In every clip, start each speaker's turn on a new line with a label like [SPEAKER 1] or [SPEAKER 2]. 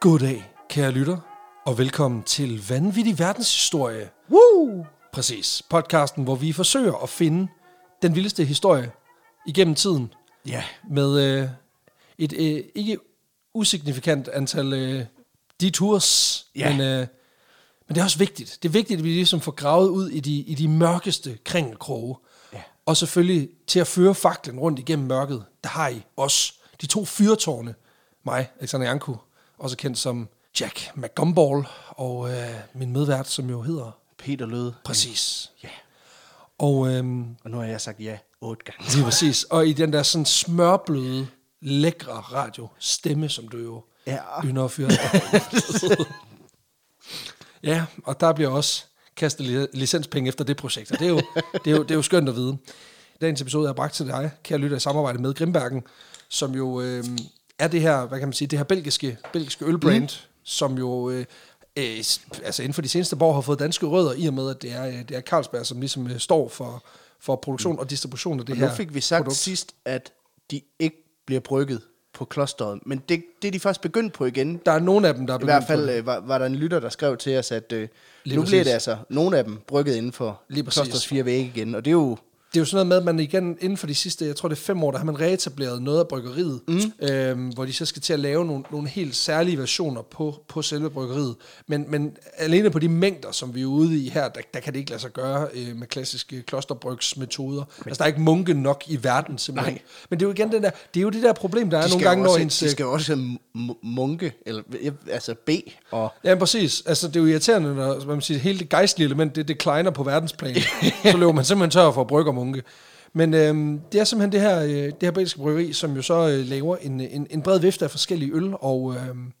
[SPEAKER 1] Goddag, kære lytter, og velkommen til Vanvittig Verdenshistorie.
[SPEAKER 2] Woo!
[SPEAKER 1] Præcis, podcasten, hvor vi forsøger at finde den vildeste historie igennem tiden
[SPEAKER 2] Ja,
[SPEAKER 1] med øh, et øh, ikke usignifikant antal øh, detours,
[SPEAKER 2] Ja.
[SPEAKER 1] men, øh, men det er også vigtigt. Det er vigtigt, at vi ligesom får gravet ud i de, i de mørkeste kringelkroge.
[SPEAKER 2] Ja.
[SPEAKER 1] Og selvfølgelig til at føre faklen rundt igennem mørket, der har I os, de to fyrtårne, mig, Alexander Janku, også kendt som Jack McGumball, og øh, min medvært, som jo hedder
[SPEAKER 2] Peter lød.
[SPEAKER 1] præcis.
[SPEAKER 2] Ja,
[SPEAKER 1] Og øhm,
[SPEAKER 2] og nu har jeg sagt ja otte gange.
[SPEAKER 1] Lige præcis. Og i den der sådan smørbløde, lækre radio stemme, som du jo
[SPEAKER 2] Ja.
[SPEAKER 1] ynder at fyre. ja, og der bliver også kastet li- licenspenge efter det projekt, og det er, jo, det, er jo, det er jo skønt at vide. Dagens episode er bragt til dig, kære lytter, i samarbejde med Grimbergen, som jo øh, er det her, hvad kan man sige, det her belgiske, belgiske ølbrand, mm. som jo øh, øh, s- altså inden for de seneste par år har fået danske rødder, i og med, at det er, øh, det er Carlsberg, som ligesom øh, står for, for produktion og distribution af det
[SPEAKER 2] Og
[SPEAKER 1] her.
[SPEAKER 2] nu fik vi sagt
[SPEAKER 1] produkt.
[SPEAKER 2] produkt. sidst, at de ikke bliver brygget på klosteret, men det, det er de først begyndt på igen.
[SPEAKER 1] Der er nogle af dem, der er
[SPEAKER 2] I
[SPEAKER 1] begyndt
[SPEAKER 2] hvert
[SPEAKER 1] på
[SPEAKER 2] fald
[SPEAKER 1] det.
[SPEAKER 2] øh, var, var der en lytter, der skrev til os, at øh,
[SPEAKER 1] Lige
[SPEAKER 2] nu bliver
[SPEAKER 1] præcis.
[SPEAKER 2] det altså nogle af dem brygget inden for
[SPEAKER 1] Lige præcis.
[SPEAKER 2] klosterets fire vægge igen, og det er jo...
[SPEAKER 1] Det er jo sådan noget med, at man igen inden for de sidste, jeg tror det er fem år, der har man reetableret noget af bryggeriet, mm. øhm, hvor de så skal til at lave nogle, nogle helt særlige versioner på, på selve bryggeriet. Men, men alene på de mængder, som vi er ude i her, der, der kan det ikke lade sig gøre øh, med klassiske klosterbrygsmetoder. Altså der er ikke munke nok i verden simpelthen. Nej.
[SPEAKER 2] Nej.
[SPEAKER 1] Men det er jo igen den der, det er jo det der problem, der er
[SPEAKER 2] De skal,
[SPEAKER 1] nogle gange,
[SPEAKER 2] jo
[SPEAKER 1] når
[SPEAKER 2] også,
[SPEAKER 1] ens... øh,
[SPEAKER 2] de skal jo også øh, m- m- munke, eller jeg- altså B, og
[SPEAKER 1] Ja, præcis. Altså, det er jo irriterende, når hvad man siger, hele det gejstlige element, det decliner på verdensplan. så løber man simpelthen tør for brygger munke. Men øhm, det er simpelthen det her, øh, det her belgiske bryggeri, som jo så øh, laver en, en, en bred vifte af forskellige øl, og, øhm,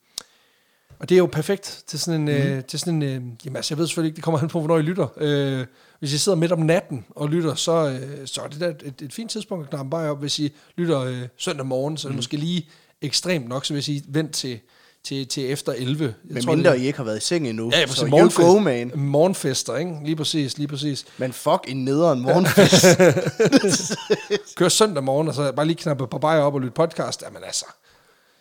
[SPEAKER 1] og det er jo perfekt til sådan en...
[SPEAKER 2] Mhm.
[SPEAKER 1] Øh, til sådan en øh, jamen, altså, jeg ved selvfølgelig ikke, det kommer an på, hvornår I lytter. Øh, hvis I sidder midt om natten og lytter, så, øh, så er det da et, et, et fint tidspunkt at knappe bare op. Hvis I lytter øh, søndag morgen,
[SPEAKER 2] Mhm.
[SPEAKER 1] så er det mm. måske lige ekstremt nok, så hvis I vent til, til, til efter 11. Jeg
[SPEAKER 2] med
[SPEAKER 1] tror, det-
[SPEAKER 2] mindre I ikke har været i seng endnu,
[SPEAKER 1] Ja, ja,
[SPEAKER 2] så
[SPEAKER 1] præcis.
[SPEAKER 2] you
[SPEAKER 1] Morgenfest,
[SPEAKER 2] go, man.
[SPEAKER 1] Morgenfester, ikke? Lige præcis, lige præcis.
[SPEAKER 2] Men fuck en nederen morgenfest.
[SPEAKER 1] Kør søndag morgen, og så bare lige knappe på bajer op og lytte podcast. Jamen altså.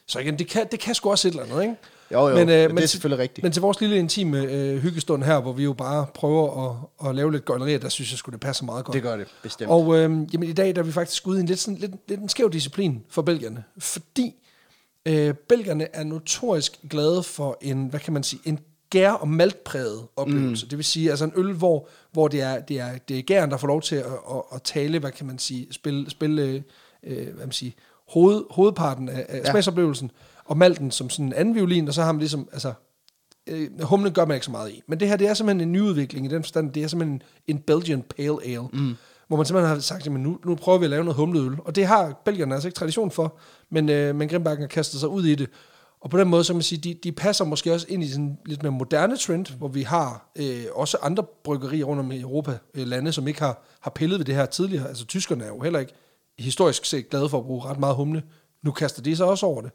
[SPEAKER 1] Så igen, det kan, det kan sgu også et eller andet, ikke?
[SPEAKER 2] Jo, jo, men det er
[SPEAKER 1] til-
[SPEAKER 2] selvfølgelig rigtigt.
[SPEAKER 1] Men til vores lille intime øh, hyggestund her, hvor vi jo bare prøver at, at lave lidt gøjlerier, der synes jeg sgu, det passer meget godt.
[SPEAKER 2] Det gør det, bestemt.
[SPEAKER 1] Og øh, jamen, i dag der er vi faktisk ude i en lidt, sådan, lidt, lidt en skæv disciplin for belgierne, fordi øh, belgierne er notorisk glade for en, hvad kan man sige, en gær- og maltpræget oplevelse. Mm. Det vil sige, altså en øl, hvor, hvor det, er, det, er, det er gæren, der får lov til at, at, at tale, hvad kan man sige, spille, spille øh, øh, hvad man sige, hoved, hovedparten af, af ja.
[SPEAKER 2] Ja.
[SPEAKER 1] smagsoplevelsen, og malten som sådan en anden violin, og så har man ligesom, altså, øh, humlen gør man ikke så meget i. Men det her, det er simpelthen en nyudvikling i den forstand, det er simpelthen en, en Belgian Pale Ale, mm. hvor man simpelthen har sagt, jamen nu, nu prøver vi at lave noget humlet øl. Og det har belgierne altså ikke tradition for, men, øh, men Grimbergen har kastet sig ud i det. Og på den måde, så kan man sige, de, de passer måske også ind i sådan lidt mere moderne trend, hvor vi har øh, også andre bryggerier rundt om i Europa, øh, lande, som ikke har, har pillet ved det her tidligere. Altså tyskerne er jo heller ikke historisk set glade for at bruge ret meget humle. Nu kaster de sig også over det.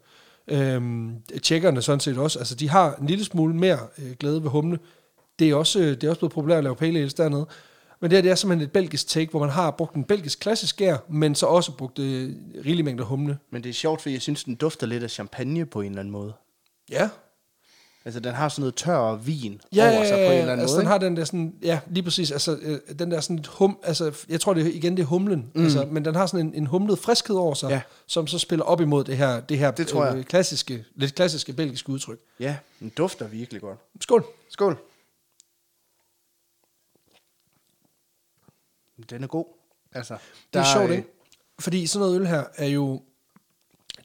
[SPEAKER 1] Øhm, tjekkerne sådan set også. Altså, de har en lille smule mere øh, glæde ved humle. Det er, også, øh, det er også blevet populært at lave pale ales dernede. Men det her, det er simpelthen et belgisk take, hvor man har brugt en belgisk klassisk gær, men så også brugt øh, rigelig mængde humle.
[SPEAKER 2] Men det er sjovt, fordi jeg synes, den dufter lidt af champagne på en eller anden måde.
[SPEAKER 1] Ja,
[SPEAKER 2] Altså, den har sådan noget tør vin
[SPEAKER 1] ja,
[SPEAKER 2] over sig på en eller anden
[SPEAKER 1] altså,
[SPEAKER 2] måde.
[SPEAKER 1] den
[SPEAKER 2] ikke?
[SPEAKER 1] har den der sådan, ja, lige præcis, altså øh, den der sådan lidt hum, altså jeg tror det er- igen det er humlen, mm. altså, men den har sådan en, en humlet friskhed over sig, ja.
[SPEAKER 2] Ja.
[SPEAKER 1] som så spiller op imod det her, det her øh,
[SPEAKER 2] Det tror jeg.
[SPEAKER 1] klassiske, lidt klassiske belgiske udtryk.
[SPEAKER 2] Ja, den dufter virkelig godt.
[SPEAKER 1] Skål.
[SPEAKER 2] Skål. Den er god. Altså,
[SPEAKER 1] Det er
[SPEAKER 2] der
[SPEAKER 1] sjovt,
[SPEAKER 2] øh,
[SPEAKER 1] ikke? Fordi sådan noget øl her er jo...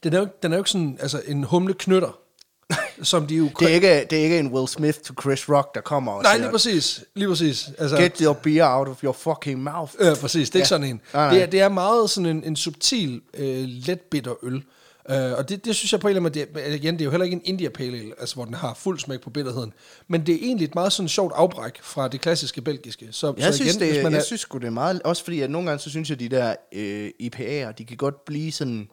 [SPEAKER 1] Den er jo, ikke- den er jo ikke sådan altså en humle knytter, som de jo...
[SPEAKER 2] Det er, ikke, det er ikke en Will Smith to Chris Rock, der kommer og
[SPEAKER 1] Nej, lige
[SPEAKER 2] siger,
[SPEAKER 1] præcis. Lige præcis. Altså,
[SPEAKER 2] get your beer out of your fucking mouth.
[SPEAKER 1] øh, præcis, det er ja. ikke sådan en.
[SPEAKER 2] Nej, nej.
[SPEAKER 1] Det er, det er meget sådan en, en subtil, øh, let bitter øl. Øh, og det, det synes jeg på en eller anden måde, det er, igen, det er jo heller ikke en India Pale Ale, altså, hvor den har fuld smæk på bitterheden. Men det er egentlig et meget sådan sjovt afbræk fra det klassiske belgiske. Så,
[SPEAKER 2] Jeg,
[SPEAKER 1] så
[SPEAKER 2] synes,
[SPEAKER 1] igen,
[SPEAKER 2] det,
[SPEAKER 1] hvis
[SPEAKER 2] jeg
[SPEAKER 1] man er,
[SPEAKER 2] synes sgu, det er meget... Også fordi, at nogle gange, så synes jeg, de der øh, IPA'er, de kan godt blive sådan...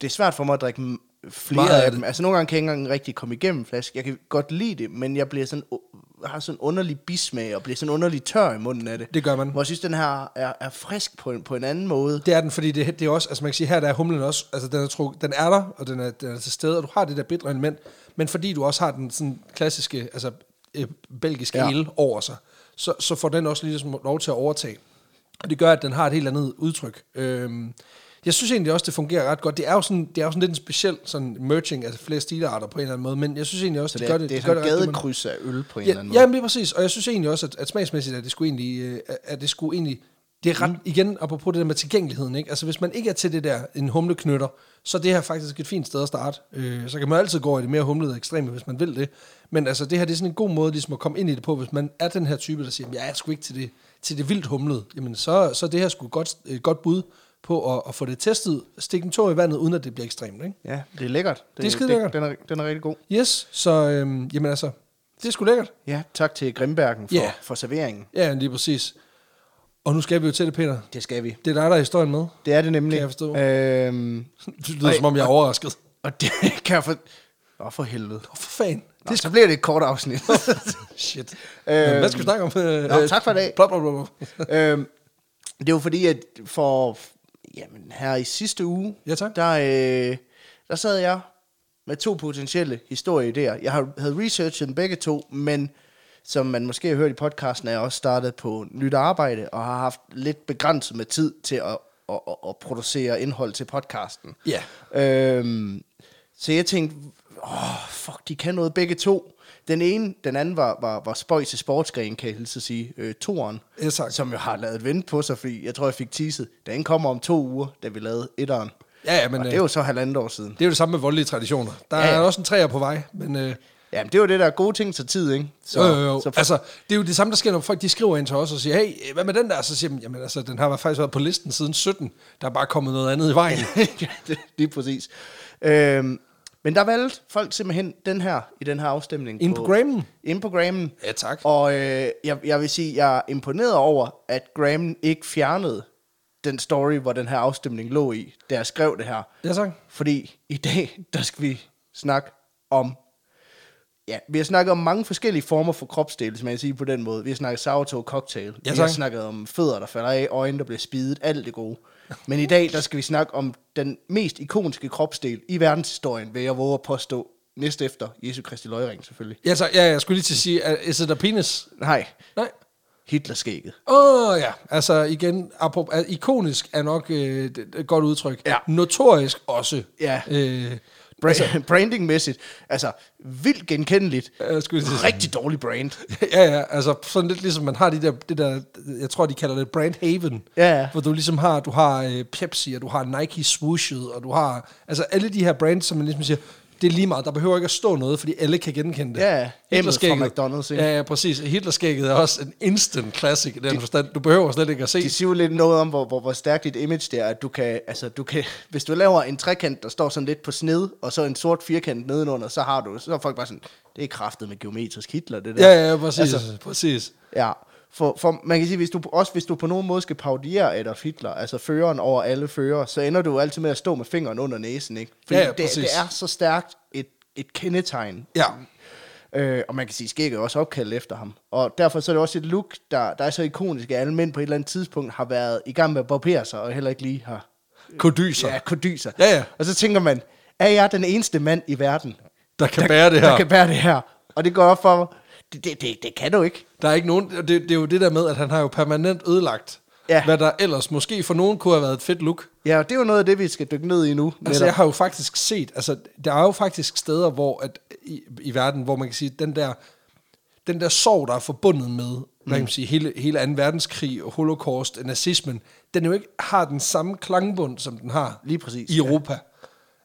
[SPEAKER 2] Det er svært for mig at drikke m- flere
[SPEAKER 1] Meget af
[SPEAKER 2] af
[SPEAKER 1] det.
[SPEAKER 2] dem. Altså, nogle gange kan jeg ikke engang rigtig komme igennem flaske. Jeg kan godt lide det, men jeg bliver sådan... Uh, har sådan en underlig bismag og bliver sådan underlig tør i munden af det.
[SPEAKER 1] Det gør man.
[SPEAKER 2] Hvor jeg synes, den her er, er frisk på en, på en anden måde.
[SPEAKER 1] Det er den, fordi det, det er også, altså man kan sige, her der er humlen også, altså den er, truk, den er der, og den er, den er til stede, og du har det der bitre element, men fordi du også har den sådan klassiske, altså øh, belgiske
[SPEAKER 2] Ja.
[SPEAKER 1] ja. el over sig, så, så får den også ligesom lov til at overtage. Og det gør, at den har et helt andet udtryk. Øhm, jeg synes egentlig også, det fungerer ret godt. Det er jo sådan, det er jo sådan lidt en speciel sådan merging, altså flere stilarter på en eller anden måde, men jeg synes egentlig også,
[SPEAKER 2] Så
[SPEAKER 1] det,
[SPEAKER 2] det,
[SPEAKER 1] gør
[SPEAKER 2] er,
[SPEAKER 1] det,
[SPEAKER 2] det, er
[SPEAKER 1] gør
[SPEAKER 2] sådan et
[SPEAKER 1] det ret-
[SPEAKER 2] gadekryds af øl på en eller anden
[SPEAKER 1] ja,
[SPEAKER 2] måde.
[SPEAKER 1] Jamen lige præcis, og jeg synes egentlig også, at, at smagsmæssigt, at det skulle egentlig, øh, at- at det skulle egentlig, det er ret, mm. igen, apropos det der med tilgængeligheden, ikke? Altså hvis man ikke er til det der, en humleknytter, så er det her faktisk et fint sted at starte. Øh, så kan man altid gå i det mere humlede ekstreme, hvis man vil det. Men altså det her, det er sådan en god måde ligesom at komme ind i det på, hvis man er den her type, der siger, "Jamen, jeg er sgu ikke til det, til det vildt humlede. Jamen så, så er det her sgu et godt, et godt bud på at, at, få det testet, stikke en tog i vandet, uden at det bliver ekstremt, ikke?
[SPEAKER 2] Ja, det er lækkert.
[SPEAKER 1] Det er skide lækkert.
[SPEAKER 2] Den er, den er rigtig god.
[SPEAKER 1] Yes, så øhm, jamen altså, det er sgu lækkert.
[SPEAKER 2] Ja, tak til Grimbergen for,
[SPEAKER 1] Ja.
[SPEAKER 2] for serveringen.
[SPEAKER 1] Ja, lige præcis. Og nu skal vi jo til det, Peter.
[SPEAKER 2] Det skal vi.
[SPEAKER 1] Det er dig, der er historien med.
[SPEAKER 2] Det er det nemlig.
[SPEAKER 1] Kan jeg forstå.
[SPEAKER 2] Øhm,
[SPEAKER 1] Det lyder, som om jeg er overrasket.
[SPEAKER 2] og det kan jeg for... Åh, for helvede.
[SPEAKER 1] Åh, for fanden.
[SPEAKER 2] Nå, så bliver det et kort afsnit.
[SPEAKER 1] Shit.
[SPEAKER 2] Øhm,
[SPEAKER 1] Øh, Hvad skal vi snakke om? Øh,
[SPEAKER 2] nå, tak for i dag.
[SPEAKER 1] Blah, blah, blah, blah.
[SPEAKER 2] øhm, det var fordi, at for... Jamen, her i sidste uge,
[SPEAKER 1] Ja, tak.
[SPEAKER 2] der, øh, der sad jeg med to potentielle historieidéer. Jeg har- havde researchet dem begge to, men som man måske har hørt i podcasten, er jeg også startet på nyt arbejde, og har haft lidt begrænset med tid til at, at, at, at producere indhold til podcasten.
[SPEAKER 1] Ja.
[SPEAKER 2] Øhm, så jeg tænkte, åh, fuck, de kan noget begge to. Den ene, den anden var, var, var spøj til sportsgren, kan jeg hilse at sige, øh, toren,
[SPEAKER 1] Ja, tak.
[SPEAKER 2] som jo har lavet et vent på sig, fordi jeg tror, jeg fik teaset. Den kommer om to uger, da vi lavede etteren.
[SPEAKER 1] Ja, ja, men
[SPEAKER 2] og
[SPEAKER 1] øh,
[SPEAKER 2] det er jo så halvandet år siden.
[SPEAKER 1] det er jo det samme med voldelige traditioner. Der
[SPEAKER 2] Ja,
[SPEAKER 1] ja,
[SPEAKER 2] ja.
[SPEAKER 1] ja. er også en træer på vej, men... Øh,
[SPEAKER 2] Jamen, det er jo det, der er gode ting til tid, ikke?
[SPEAKER 1] så, jo, jo, jo.
[SPEAKER 2] Så,
[SPEAKER 1] altså, det er jo det samme, der sker, når folk de skriver ind til os og siger, hey, øh, hvad med den der? Så siger man, jamen altså, den har faktisk været på listen siden 17. Der er bare kommet noget andet i vejen.
[SPEAKER 2] ja, det, lige præcis. Øhm, men der valgte folk simpelthen den her, i den her afstemning.
[SPEAKER 1] Inde på Grammen?
[SPEAKER 2] Ind på Grammen.
[SPEAKER 1] Ja, tak.
[SPEAKER 2] Og øh, jeg, jeg vil sige, jeg er imponeret over, at Grammen ikke fjernede den story, hvor den her afstemning lå i, da jeg skrev det her.
[SPEAKER 1] Ja, tak.
[SPEAKER 2] Fordi i dag, der skal vi snakke om... Ja, vi har snakket om mange forskellige former for kropsdele, hvis man kan sige på den måde. Vi har snakket sourdough cocktail.
[SPEAKER 1] Ja,
[SPEAKER 2] vi har
[SPEAKER 1] tak.
[SPEAKER 2] snakket om fødder, der falder af, øjne, der bliver spidet, alt det gode. Men i dag, der skal vi snakke om den mest ikoniske kropsdel i verdenshistorien, vil jeg våge at påstå. Næst efter Jesu Kristi Løjring, selvfølgelig.
[SPEAKER 1] Ja, tak. Ja, jeg skulle lige til at sige, er- is it a penis?
[SPEAKER 2] Nej,
[SPEAKER 1] Nej.
[SPEAKER 2] Hitlerskægget.
[SPEAKER 1] Åh oh, ja, altså igen, apropos, altså, ikonisk er nok øh, det- det er et godt udtryk.
[SPEAKER 2] Ja.
[SPEAKER 1] Notorisk også.
[SPEAKER 2] Ja.
[SPEAKER 1] Øh,
[SPEAKER 2] Bra- altså, brandingmæssigt. Altså, vildt genkendeligt.
[SPEAKER 1] jeg skulle lige til at sige.
[SPEAKER 2] Rigtig dårlig brand.
[SPEAKER 1] ja, ja, altså sådan lidt ligesom man har de der, det der, jeg tror de kalder det brand haven.
[SPEAKER 2] Ja, ja.
[SPEAKER 1] Hvor du ligesom har, du har øh, Pepsi, og du har Nike swooshet, og du har, altså alle de her brands, som man ligesom siger, det er lige meget, der behøver ikke at stå noget, fordi alle kan genkende det.
[SPEAKER 2] Ja, ja.
[SPEAKER 1] Hitlerskægget-
[SPEAKER 2] Emmet fra McDonald's, ikke?
[SPEAKER 1] Ja, ja, præcis. Hitlerskægget er også en instant classic i den forstand. Du behøver slet ikke at se
[SPEAKER 2] Det siger jo lidt noget om, hvor, hvor, hvor stærkt dit image det er, at du kan, altså du kan, hvis du laver en trekant, der står sådan lidt på sned, og så en sort firkant nedenunder, så har du, så er folk bare sådan, det er kraftet med geometrisk Hitler, det der.
[SPEAKER 1] Ja, ja, præcis. Altså, præcis.
[SPEAKER 2] ja. For, for, man kan sige, hvis du, også hvis du på nogen måde skal paudiere Adolf Hitler, altså føreren over alle fører, så ender du jo altid med at stå med fingeren under næsen, ikke? Fordi
[SPEAKER 1] Ja, ja,
[SPEAKER 2] det,
[SPEAKER 1] præcis.
[SPEAKER 2] det er så stærkt et, et kendetegn
[SPEAKER 1] Ja.
[SPEAKER 2] Øh, og man kan sige, skægget er også opkaldt efter ham. Og derfor så er det også et look, der, der er så ikonisk, at alle mænd på et eller andet tidspunkt har været i gang med at barbere sig, og heller ikke lige har
[SPEAKER 1] Kodyser.
[SPEAKER 2] ja, kodyser.
[SPEAKER 1] Ja, ja.
[SPEAKER 2] Og så tænker man, er jeg den eneste mand i verden,
[SPEAKER 1] Der kan bære det
[SPEAKER 2] der
[SPEAKER 1] her.
[SPEAKER 2] kan bære det her? Og det går op for mig. Det, det, det, det kan du ikke.
[SPEAKER 1] Der er ikke nogen, det, det er jo det der med, at han har jo permanent ødelagt,
[SPEAKER 2] Ja.
[SPEAKER 1] ja. hvad der ellers måske for nogen kunne have været et fedt look.
[SPEAKER 2] Ja, og det er jo noget af det, vi skal dykke ned i nu.
[SPEAKER 1] Altså,
[SPEAKER 2] netop.
[SPEAKER 1] jeg har jo faktisk set, altså, der er jo faktisk steder hvor at, i, i verden, hvor man kan sige, den der, den der sorg, der er forbundet med, mm. hvad kan man sige, hele, hele 2. verdenskrig, og holocaust, nazismen, den jo ikke har den samme klangbund, som den har
[SPEAKER 2] Lige præcis,
[SPEAKER 1] i
[SPEAKER 2] ja.
[SPEAKER 1] Europa.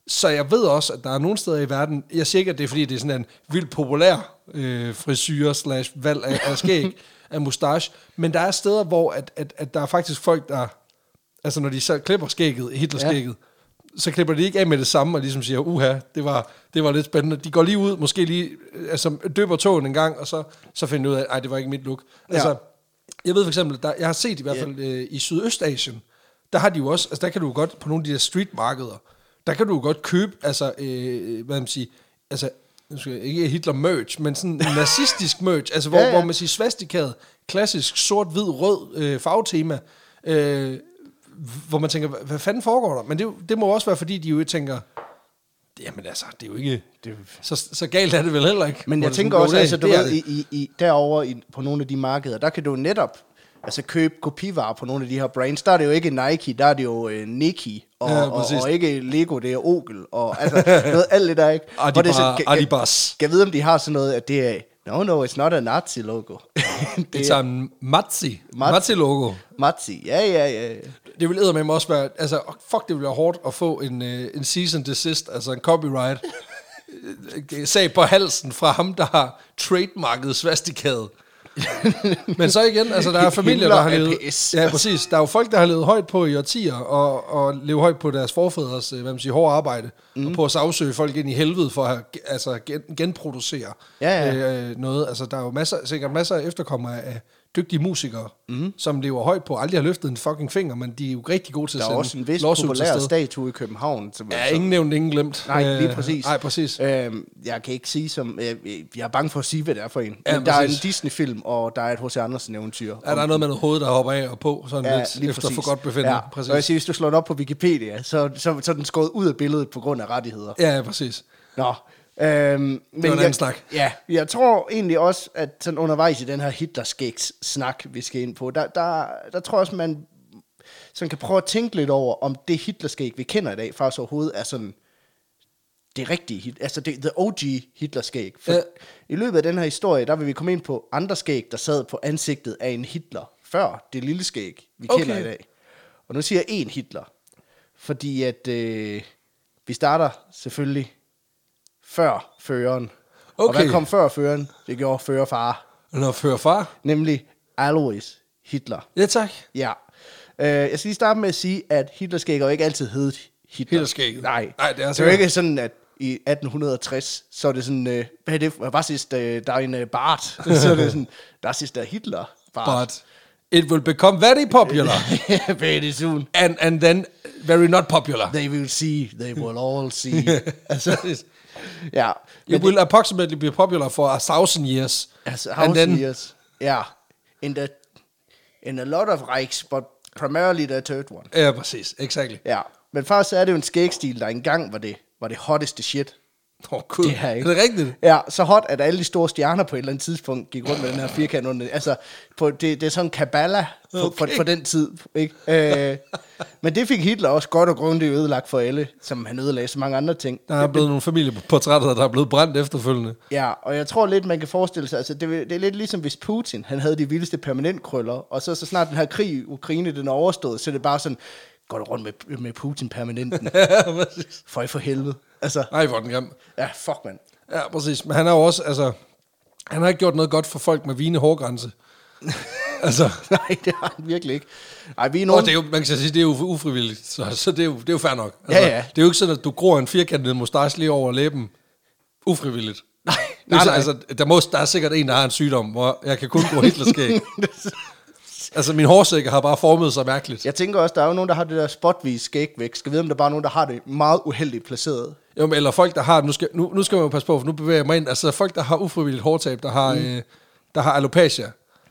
[SPEAKER 1] Så jeg ved også, at der er nogle steder i verden, jeg siger ikke, at det er fordi, det er sådan en vildt populær øh, frisyr slash valg af, af skæg, af mustache, men der er steder, hvor at, at, at der er faktisk folk, der, altså når de så klipper skægget, Hitlerskægget, ja. så klipper de ikke af med det samme, og ligesom siger, uha, det var, det var lidt spændende. De går lige ud, måske lige, øh, altså døber tågen en gang, og så, så finder de ud af, nej, det var ikke mit look. Altså,
[SPEAKER 2] Ja.
[SPEAKER 1] jeg ved for eksempel, der, jeg har set i hvert fald øh, i Sydøstasien, der har de jo også, altså der kan du jo godt, øh, på nogle af de der streetmarkeder, der kan du jo godt købe, altså, øh, hvad man siger, altså nu skal jeg, ikke Hitler merch, men sådan nazistisk merch, altså hvor, ja,
[SPEAKER 2] Ja,
[SPEAKER 1] ja.
[SPEAKER 2] ja.
[SPEAKER 1] hvor man siger svastikaet, klassisk sort-hvid-rød øh, farvetema, øh, hvor man tænker, "Hva- hvad fanden foregår der? Men det, er jo- det må også være, fordi de jo tænker, jamen altså, det er jo ikke,
[SPEAKER 2] Det er jo-
[SPEAKER 1] så, så galt er det vel heller ikke.
[SPEAKER 2] Men
[SPEAKER 1] Hvor
[SPEAKER 2] jeg
[SPEAKER 1] det sådan,
[SPEAKER 2] tænker
[SPEAKER 1] "Jo,
[SPEAKER 2] også,
[SPEAKER 1] det-
[SPEAKER 2] altså, du
[SPEAKER 1] det er
[SPEAKER 2] ved,
[SPEAKER 1] det."
[SPEAKER 2] i, i, i, derovre i, på nogle af de markeder, der kan du netop altså, købe kopivarer på nogle af de her brands. Der er det jo ikke Nike, der er det jo øh, Nike, og,
[SPEAKER 1] Ja,
[SPEAKER 2] ja, og,
[SPEAKER 1] præcis.
[SPEAKER 2] og, ikke Lego, det er Ogel, og altså, noget, alt det der, ikke?
[SPEAKER 1] Adibar-
[SPEAKER 2] Hvor det er sådan, kan- kan-
[SPEAKER 1] Adibas.
[SPEAKER 2] Kan jeg vide, om de har sådan noget, at det er, no, no, it's not a Nazi logo. det
[SPEAKER 1] It's
[SPEAKER 2] er
[SPEAKER 1] a Mazzi.
[SPEAKER 2] Mazzi.
[SPEAKER 1] Mazzi-logo.
[SPEAKER 2] Nazi, ja, ja, ja. ja.
[SPEAKER 1] Det ville eddermame også være, altså åh, fuck, det ville være hårdt at få en, øh, en season desist, altså en copyright, øh, sag på halsen fra ham, der har trademarket svastikadet. Men så igen, altså der er familier, der har
[SPEAKER 2] Himmler
[SPEAKER 1] levet...
[SPEAKER 2] APS.
[SPEAKER 1] Ja, præcis. Der er jo folk, der har levet højt på i årtier, og, og levet højt på deres forfædres, øh, hvad man siger, hårde arbejde, mm.
[SPEAKER 2] Mhm.
[SPEAKER 1] og på at sagsøge folk ind i helvede for at ge- altså, gen, genproducere
[SPEAKER 2] Ja, ja.
[SPEAKER 1] øh, noget. Altså, der er jo masser, sikkert masser af efterkommere af dygtige musikere,
[SPEAKER 2] Mhm.
[SPEAKER 1] mm. som lever højt på, aldrig har løftet en fucking finger, men de er jo rigtig gode til
[SPEAKER 2] Der
[SPEAKER 1] at
[SPEAKER 2] er
[SPEAKER 1] sende
[SPEAKER 2] også en vis
[SPEAKER 1] lawsuits
[SPEAKER 2] populær
[SPEAKER 1] afsted.
[SPEAKER 2] statue i København. Som
[SPEAKER 1] Ja,
[SPEAKER 2] altså-
[SPEAKER 1] ingen nævnt, ingen glemt.
[SPEAKER 2] Nej, lige
[SPEAKER 1] Øh,
[SPEAKER 2] præcis.
[SPEAKER 1] Nej, præcis.
[SPEAKER 2] Øhm, jeg kan ikke sige som... Øh, øh, jeg er bange for at sige, hvad det er for en.
[SPEAKER 1] Ja,
[SPEAKER 2] Ja, Men der er en
[SPEAKER 1] præcis.
[SPEAKER 2] Disney-film, og der er et H.C. Andersen-eventyr.
[SPEAKER 1] Ja, der er noget med noget hoved, der hopper af og på, sådan ja, lidt, efter for godt befindende. Ja,
[SPEAKER 2] Og jeg
[SPEAKER 1] præcis.
[SPEAKER 2] siger, hvis du slår den op på Wikipedia, så, så, så er den skåret ud af billedet på grund af rettigheder.
[SPEAKER 1] Ja, ja, præcis.
[SPEAKER 2] Nå. Øhm, men
[SPEAKER 1] anden
[SPEAKER 2] jeg,
[SPEAKER 1] snak.
[SPEAKER 2] Ja, jeg tror egentlig også, at sådan undervejs i den her Hitlerskægs-snak, vi skal ind på, der, der, der tror jeg også, man sådan kan prøve at tænke lidt over, om det Hitlerskæg, vi kender i dag, faktisk overhovedet er sådan det rigtige, Hit- altså det, the OG Hitlerskæg. For
[SPEAKER 1] Ja.
[SPEAKER 2] I løbet af den her historie, der vil vi komme ind på andre skæg, der sad på ansigtet af en Hitler, før det lille skæg, vi
[SPEAKER 1] Okay.
[SPEAKER 2] kender i dag. Og nu siger jeg en Hitler, fordi at øh, vi starter selvfølgelig før føreren. Og
[SPEAKER 1] Okay.
[SPEAKER 2] hvad kom før føreren? Det gjorde førerfar,
[SPEAKER 1] Når fører far.
[SPEAKER 2] nemlig Alois Hitler.
[SPEAKER 1] Ja, tak.
[SPEAKER 2] Ja. Øh, jeg skal lige starte med at sige, at Hitlerskæg jo ikke altid hed Hitler.
[SPEAKER 1] Hitlerskægget.
[SPEAKER 2] Nej.
[SPEAKER 1] Nej, det er
[SPEAKER 2] det er jo
[SPEAKER 1] sikkert.
[SPEAKER 2] ikke sådan, at i 1860, så er det sådan, øh, hvad er det for, hvad sidst, øh, der er en øh, Bart, så er det sådan, der sidst der Hitler, Bart.
[SPEAKER 1] But it will become very popular.
[SPEAKER 2] Very soon.
[SPEAKER 1] and, and then very not popular.
[SPEAKER 2] They will see, they will all see.
[SPEAKER 1] altså, it
[SPEAKER 2] ja. Men
[SPEAKER 1] will approximately be popular for a thousand years.
[SPEAKER 2] Altså,
[SPEAKER 1] and
[SPEAKER 2] house
[SPEAKER 1] then,
[SPEAKER 2] years. Ja. In, the, in a lot of Reichs, but primarily the third one.
[SPEAKER 1] Ja, præcis. Exactly.
[SPEAKER 2] Ja. Men faktisk er det jo en skægstil, der engang var det, var det hotteste shit.
[SPEAKER 1] Åh, oh, cool.
[SPEAKER 2] Det her, ikke?
[SPEAKER 1] Er det rigtigt?
[SPEAKER 2] Ja, så hot, at alle de store stjerner på et eller andet tidspunkt gik rundt med den her firkant under. Altså, på, det, det er sådan kabbala for, okay. for,
[SPEAKER 1] Okay.
[SPEAKER 2] for den tid. Ikke? Øh, men det fik Hitler også godt og grundigt ødelagt for alle, som han ødelagde så mange andre ting.
[SPEAKER 1] Der er blevet nogle familieportrætter, der er blevet brændt efterfølgende.
[SPEAKER 2] Ja, og jeg tror lidt, man kan forestille sig, altså det, vil- det er lidt ligesom hvis Putin, han havde de vildeste permanentkrøller, og så, så snart den her krig i Ukraine, den er overstået, så er det bare sådan, går du rundt med, med Putin permanenten?
[SPEAKER 1] Ja, præcis.
[SPEAKER 2] For i for helvede. Altså,
[SPEAKER 1] Nej, hvor er den grim.
[SPEAKER 2] ja, fuck mand.
[SPEAKER 1] Ja, præcis. Men han har jo også, altså... Han har ikke gjort noget godt for folk med vigende hårgrænse. altså...
[SPEAKER 2] Nej, det har han virkelig ikke. Nej, vi er
[SPEAKER 1] Og
[SPEAKER 2] nogen...
[SPEAKER 1] det er jo, man kan så sige, det er jo ufrivilligt, så, så det, er jo, det er jo fair nok. Altså,
[SPEAKER 2] Ja, ja.
[SPEAKER 1] Det er jo ikke sådan, at du gror en firkantet mustache lige over læben. Ufrivilligt.
[SPEAKER 2] Nej,
[SPEAKER 1] Det er
[SPEAKER 2] nej,
[SPEAKER 1] så,
[SPEAKER 2] nej.
[SPEAKER 1] altså, der, må, der er sikkert en, der har en sygdom, hvor jeg kan kun gro Hitlerskæg. altså, min hårsækker har bare formet sig mærkeligt.
[SPEAKER 2] Jeg tænker også, der er jo nogen, der har det der spotvis skægvæk. Skal vide, om der bare er nogen, der har det meget uheldigt placeret.
[SPEAKER 1] Jo, men, eller folk, der har... Nu skal, nu, nu skal man jo passe på, for nu bevæger jeg mig ind. Altså, folk, der har ufrivilligt hårtab, der har, mm. øh, der har alopecia.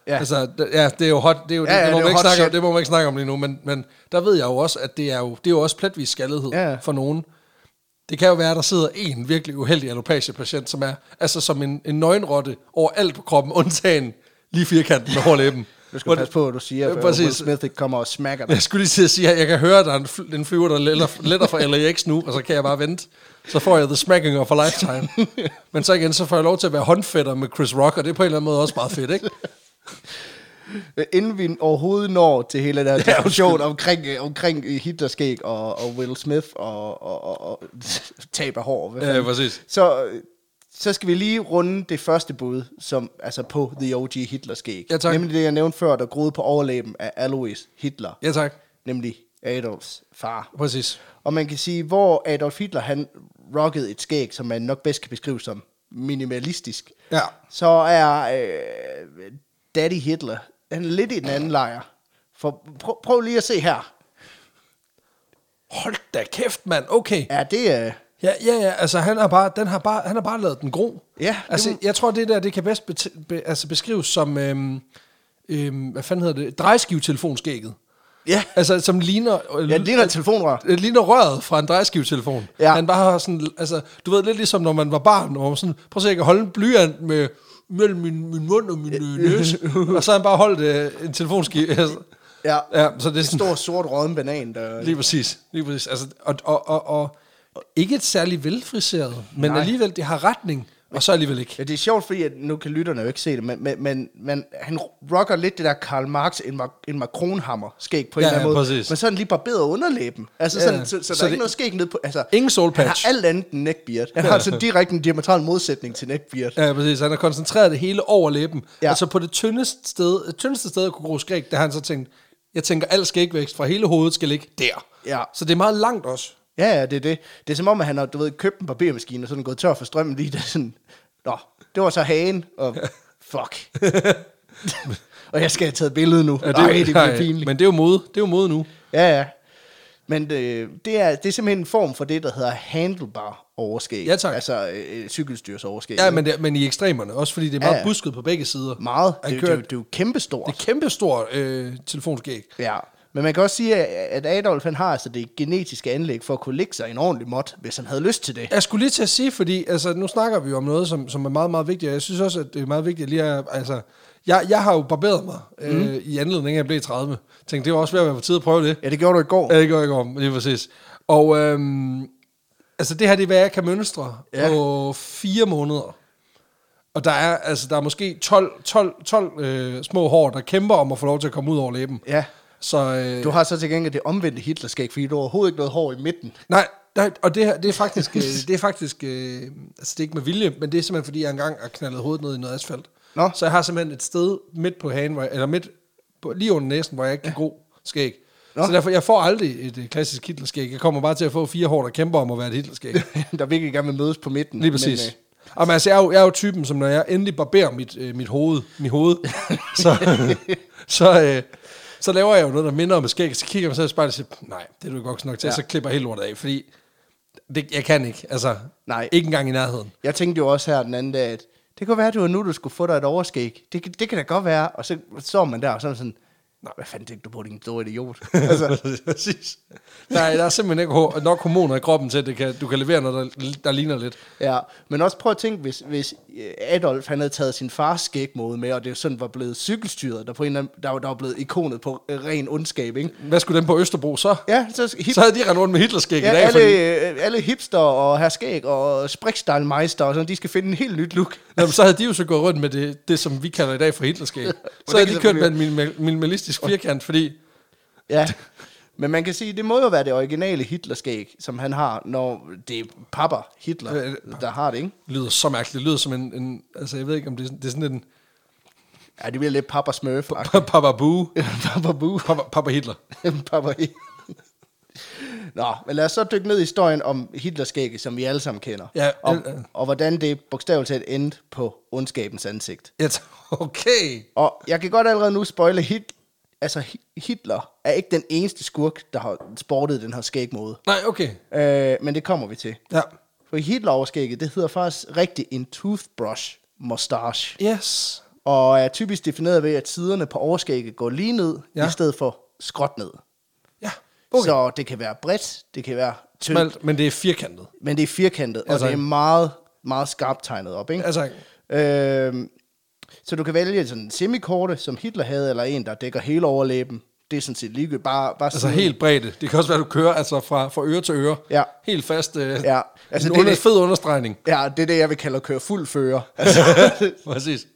[SPEAKER 1] Ja.
[SPEAKER 2] Ja.
[SPEAKER 1] Altså, d- ja, det er jo hot, det, er jo, ja, det,
[SPEAKER 2] ja,
[SPEAKER 1] det, må man
[SPEAKER 2] det er jo
[SPEAKER 1] ikke
[SPEAKER 2] hot
[SPEAKER 1] snakke om,
[SPEAKER 2] shit.
[SPEAKER 1] det må man ikke snakke om lige nu, men, men der ved jeg jo også, at det er jo, det er jo også pletvis skaldighed
[SPEAKER 2] Ja.
[SPEAKER 1] for nogen. Det kan jo være, at der sidder en virkelig uheldig alopecia-patient, som er altså som en, en nøgenrotte over alt på kroppen, undtagen lige firkanten over læben.
[SPEAKER 2] Du skal
[SPEAKER 1] Hvor-
[SPEAKER 2] passe på, hvad du siger,
[SPEAKER 1] Ja,
[SPEAKER 2] for
[SPEAKER 1] præcis.
[SPEAKER 2] Will Smith ikke kommer og smakker dig.
[SPEAKER 1] jeg skulle lige til at sige, at jeg kan høre, at der er en, fly, en flyver, der letter, letter fra LAX nu, og så kan jeg bare vente. Så får jeg The Smacking of a Lifetime. Men så igen, så får jeg lov til at være håndfætter med Chris Rock, og det er på en eller anden måde også meget fedt, ikke?
[SPEAKER 2] Øh, Inden vi overhovedet når til hele den her
[SPEAKER 1] Ja,
[SPEAKER 2] diskussion omkring, øh, omkring øh, Hitlerskæg og, og Will Smith og, og, og, og tab af hår. Hvad fanden.
[SPEAKER 1] præcis.
[SPEAKER 2] Så, øh, så skal vi lige runde det første bud, som altså på The OG Hitlerskæg.
[SPEAKER 1] Ja, tak.
[SPEAKER 2] Nemlig det, jeg nævnte før, der groede på overlæben af Alois Hitler.
[SPEAKER 1] Ja, tak.
[SPEAKER 2] Nemlig Adolfs far.
[SPEAKER 1] Præcis.
[SPEAKER 2] Og man kan sige, hvor Adolf Hitler han rockede et skæg, som man nok bedst kan beskrive som minimalistisk,
[SPEAKER 1] Ja.
[SPEAKER 2] så er øh, Daddy Hitler, han er lidt i den anden lejr. For prøv, prøv lige at se her.
[SPEAKER 1] Hold da kæft, mand. Okay.
[SPEAKER 2] Er det, øh,
[SPEAKER 1] Ja, ja, ja. Altså, han har bare, den har bare, han har bare lavet den gro.
[SPEAKER 2] Ja, det
[SPEAKER 1] Altså,
[SPEAKER 2] må-
[SPEAKER 1] jeg tror, det der, det kan bedst bet, be, altså beskrives som, øhm, øhm, hvad fanden hedder det, drejeskivetelefonskægget.
[SPEAKER 2] Ja,
[SPEAKER 1] Altså, som ligner... øh,
[SPEAKER 2] ja det ligner et telefonrør.
[SPEAKER 1] det Øh, ligner røret fra en drejeskivetelefon.
[SPEAKER 2] Ja.
[SPEAKER 1] Han bare har sådan, altså, du ved, lidt ligesom når man var barn, hvor man sådan, prøv at se, jeg kan holde en blyant med, mellem min, min mund og min øh, næse, og så har han bare holdt øh, en telefonskive. Altså,
[SPEAKER 2] Ja.
[SPEAKER 1] ja, så det er sådan,
[SPEAKER 2] Stor sort rådden banan, der...
[SPEAKER 1] lige præcis, lige præcis. Altså, og, og, og, og, ikke et særlig velfriseret, men
[SPEAKER 2] Nej.
[SPEAKER 1] alligevel, det har retning, og så alligevel ikke.
[SPEAKER 2] Ja, det er sjovt, fordi at nu kan lytterne jo ikke se det, men, men, men, men han rocker lidt det der Karl Marx, en, Mac- en Macron-hammer skæg på en
[SPEAKER 1] Ja,
[SPEAKER 2] eller anden
[SPEAKER 1] ja,
[SPEAKER 2] måde.
[SPEAKER 1] præcis.
[SPEAKER 2] Men sådan lige barberet underlæben. Altså,
[SPEAKER 1] Ja,
[SPEAKER 2] ja,
[SPEAKER 1] ja.
[SPEAKER 2] sådan, så,
[SPEAKER 1] Så
[SPEAKER 2] så, så, der er
[SPEAKER 1] det-
[SPEAKER 2] ikke noget skæg ned på... Altså,
[SPEAKER 1] Ingen soul
[SPEAKER 2] han
[SPEAKER 1] patch.
[SPEAKER 2] har alt andet end neckbeard. Han har altså direkte en diametral modsætning til neckbeard.
[SPEAKER 1] Ja, præcis. Han har koncentreret det hele over læben. Ja.
[SPEAKER 2] Ja.
[SPEAKER 1] Altså på det tyndeste sted, øh, tyndeste sted at kunne gro skæg, der har han så tænkt, jeg tænker, al skægvækst fra hele hovedet skal ligge der.
[SPEAKER 2] Ja.
[SPEAKER 1] Så det er meget langt også.
[SPEAKER 2] Ja, ja, det er det. Det er som om, at han har, du ved, købt en barbermaskine, og så er den gået tør for strømmen lige der sådan... Nå, det var så hagen, og fuck. og jeg skal have taget billedet nu. Ja, det,
[SPEAKER 1] jo-
[SPEAKER 2] Ej, det bliver
[SPEAKER 1] nej,
[SPEAKER 2] pinligt.
[SPEAKER 1] Men det er jo mode. Det er jo mode nu.
[SPEAKER 2] Ja, ja. Men øh, det, er, det er simpelthen en form for det, der hedder handlebar overskæg.
[SPEAKER 1] Ja, tak.
[SPEAKER 2] Altså øh, øh, cykelstyrs overskæg.
[SPEAKER 1] Ja, men, det, men i ekstremerne. Også fordi det er meget
[SPEAKER 2] Ja,
[SPEAKER 1] ja.
[SPEAKER 2] ja.
[SPEAKER 1] busket på begge sider.
[SPEAKER 2] Meget.
[SPEAKER 1] Han
[SPEAKER 2] Det,
[SPEAKER 1] kører,
[SPEAKER 2] det, det, det er jo kæmpestort.
[SPEAKER 1] det er kæmpestort øh, telefonskæg.
[SPEAKER 2] Ja. Men man kan også sige, at at Adolf han har altså det genetiske anlæg for at kunne lægge sig i en ordentlig mod, hvis han havde lyst til det.
[SPEAKER 1] Jeg skulle lige til at sige, fordi altså, nu snakker vi jo om noget, som, som er meget, meget vigtigt, og jeg synes også, at det er meget vigtigt lige at... Altså, jeg, jeg har jo barberet mig øh,
[SPEAKER 2] Mhm.
[SPEAKER 1] mm. i anledning af, at jeg blev 30. Tænkte, det var også ved at være på tide at prøve det.
[SPEAKER 2] Ja, det gjorde du i går.
[SPEAKER 1] Ja, det går ikke om, lige præcis. Og øhm, altså det her, det er, hvad jeg kan mønstre ja.
[SPEAKER 2] Ja.
[SPEAKER 1] på fire måneder. Og der er, altså, der er måske 12, 12, 12 øh, små hår, der kæmper om at få lov til at komme ud over læben.
[SPEAKER 2] Ja.
[SPEAKER 1] Så, øh,
[SPEAKER 2] Du har så til gengæld det omvendte Hitlerskæg, fordi du har overhovedet ikke noget hår i midten.
[SPEAKER 1] nej, nej, og det her, det er faktisk, øh, det er faktisk øh, altså det er ikke med vilje, men det er simpelthen, fordi jeg engang har knaldet hovedet ned i noget asfalt.
[SPEAKER 2] Nå.
[SPEAKER 1] Så jeg har simpelthen et sted midt på hagen, hvor jeg, eller midt på, lige under næsen, hvor jeg ikke kan ja. gå skæg. Nå.
[SPEAKER 2] Nå.
[SPEAKER 1] Så derfor, jeg får aldrig et øh, klassisk hitlerskæg. Jeg kommer bare til at få fire hår, der kæmper om at være et hitlerskæg.
[SPEAKER 2] der virkelig gerne vil mødes på midten.
[SPEAKER 1] Lige præcis.
[SPEAKER 2] Men, øh,
[SPEAKER 1] Men, øh... Jamen, altså, jeg er, jo, jeg er jo typen, som når jeg endelig barberer mit, øh, mit hoved, mit hoved så, så, øh, så laver jeg jo noget, der minder om et skæg, så kigger jeg mig selv i spejlet og siger, nej, det er du ikke voksen nok til, ja.
[SPEAKER 2] Ja.
[SPEAKER 1] så klipper jeg helt lortet af, fordi det, jeg kan ikke, altså,
[SPEAKER 2] Nej.
[SPEAKER 1] ikke engang i nærheden.
[SPEAKER 2] Jeg tænkte jo også her den anden dag, at det kunne være, at det var nu, du skulle få dig et overskæg. Det, kan- det kan da godt være. Og så står man der, og så er man sådan, nej, hvad fanden tænkte du på, din store idiot? altså,
[SPEAKER 1] Altså, præcis. Der er, der er simpelthen ikke ho- nok hormoner i kroppen til, at det kan, du kan levere noget, der, der ligner lidt.
[SPEAKER 2] ja. Men også prøv at tænke, hvis, hvis øh, Adolf han havde taget sin fars skægmode med, og det sådan var blevet cykelstyret, der, på en eller anden, der, var- der var blevet ikonet på øh, ren ondskab, ikke?
[SPEAKER 1] Hvad skulle den på Østerbro så?
[SPEAKER 2] Ja, så hip,
[SPEAKER 1] Så havde de rendt rundt med Hitlerskæg
[SPEAKER 2] ja,
[SPEAKER 1] i dag,
[SPEAKER 2] alle,
[SPEAKER 1] fordi,
[SPEAKER 2] øh, alle hipster og herskæg og sprikstallmeister og sådan, de skal finde en helt nyt look.
[SPEAKER 1] Jamen, så havde de jo så gået rundt med det, det som vi kalder i dag for Hitlerskæg. Så
[SPEAKER 2] kan
[SPEAKER 1] havde de
[SPEAKER 2] så
[SPEAKER 1] kørt med
[SPEAKER 2] fungere.
[SPEAKER 1] en minimal- minimalistisk firkant, fordi...
[SPEAKER 2] Ja, men man kan sige, det må jo være det originale Hitlerskæg, som han har, når det er papper Hitler,
[SPEAKER 1] Øh,
[SPEAKER 2] der har det, ikke?
[SPEAKER 1] Det lyder så mærkeligt. Det lyder som en... en altså, jeg ved ikke, om det er, sådan- det er sådan en...
[SPEAKER 2] Ja, det bliver lidt papper smørf.
[SPEAKER 1] Papa Boo.
[SPEAKER 2] papper bu.
[SPEAKER 1] Papa, Papa Hitler.
[SPEAKER 2] papper i. Nå, men lad os så dykke ned i historien om Hitlerskægget, som vi alle sammen kender.
[SPEAKER 1] Ja,
[SPEAKER 2] og,
[SPEAKER 1] øh, øh.
[SPEAKER 2] og hvordan det bogstaveligt talt endte på ondskabens ansigt.
[SPEAKER 1] Ja, t- okay.
[SPEAKER 2] Og jeg kan godt allerede nu spoile, hit, altså Hi- Hitler er ikke den eneste skurk, der har sportet den her skægmode.
[SPEAKER 1] Nej, okay.
[SPEAKER 2] Øh, men det kommer vi til.
[SPEAKER 1] Ja.
[SPEAKER 2] For Hitler-overskægget, det hedder faktisk rigtig en toothbrush mustache.
[SPEAKER 1] Yes.
[SPEAKER 2] Og er typisk defineret ved, at siderne på overskægget går lige ned,
[SPEAKER 1] Ja.
[SPEAKER 2] ja. i stedet for skråt ned.
[SPEAKER 1] Ja.
[SPEAKER 2] Okay. Så det kan være bredt, det kan være tyndt,
[SPEAKER 1] Smalt, men det er firkantet.
[SPEAKER 2] men det er firkantet,
[SPEAKER 1] Ja,
[SPEAKER 2] og
[SPEAKER 1] tak.
[SPEAKER 2] det er meget, meget skarpt tegnet op. Ikke?
[SPEAKER 1] Altså,
[SPEAKER 2] Øhm, så du kan vælge sådan en semikorte, som Hitler havde, eller en, der dækker hele overlæben. Det er sådan set ligegyldigt. Bare, bare
[SPEAKER 1] altså
[SPEAKER 2] siden.
[SPEAKER 1] helt bredt. Det kan også være, du kører altså fra, fra øre til øre.
[SPEAKER 2] Mm. Ja.
[SPEAKER 1] Helt fast. Øh,
[SPEAKER 2] Ja.
[SPEAKER 1] Altså,
[SPEAKER 2] Altså,
[SPEAKER 1] en
[SPEAKER 2] det er
[SPEAKER 1] under,
[SPEAKER 2] det-
[SPEAKER 1] fed understregning.
[SPEAKER 2] Ja, det er det, jeg vil kalde at køre fuld fører. Altså,
[SPEAKER 1] Præcis.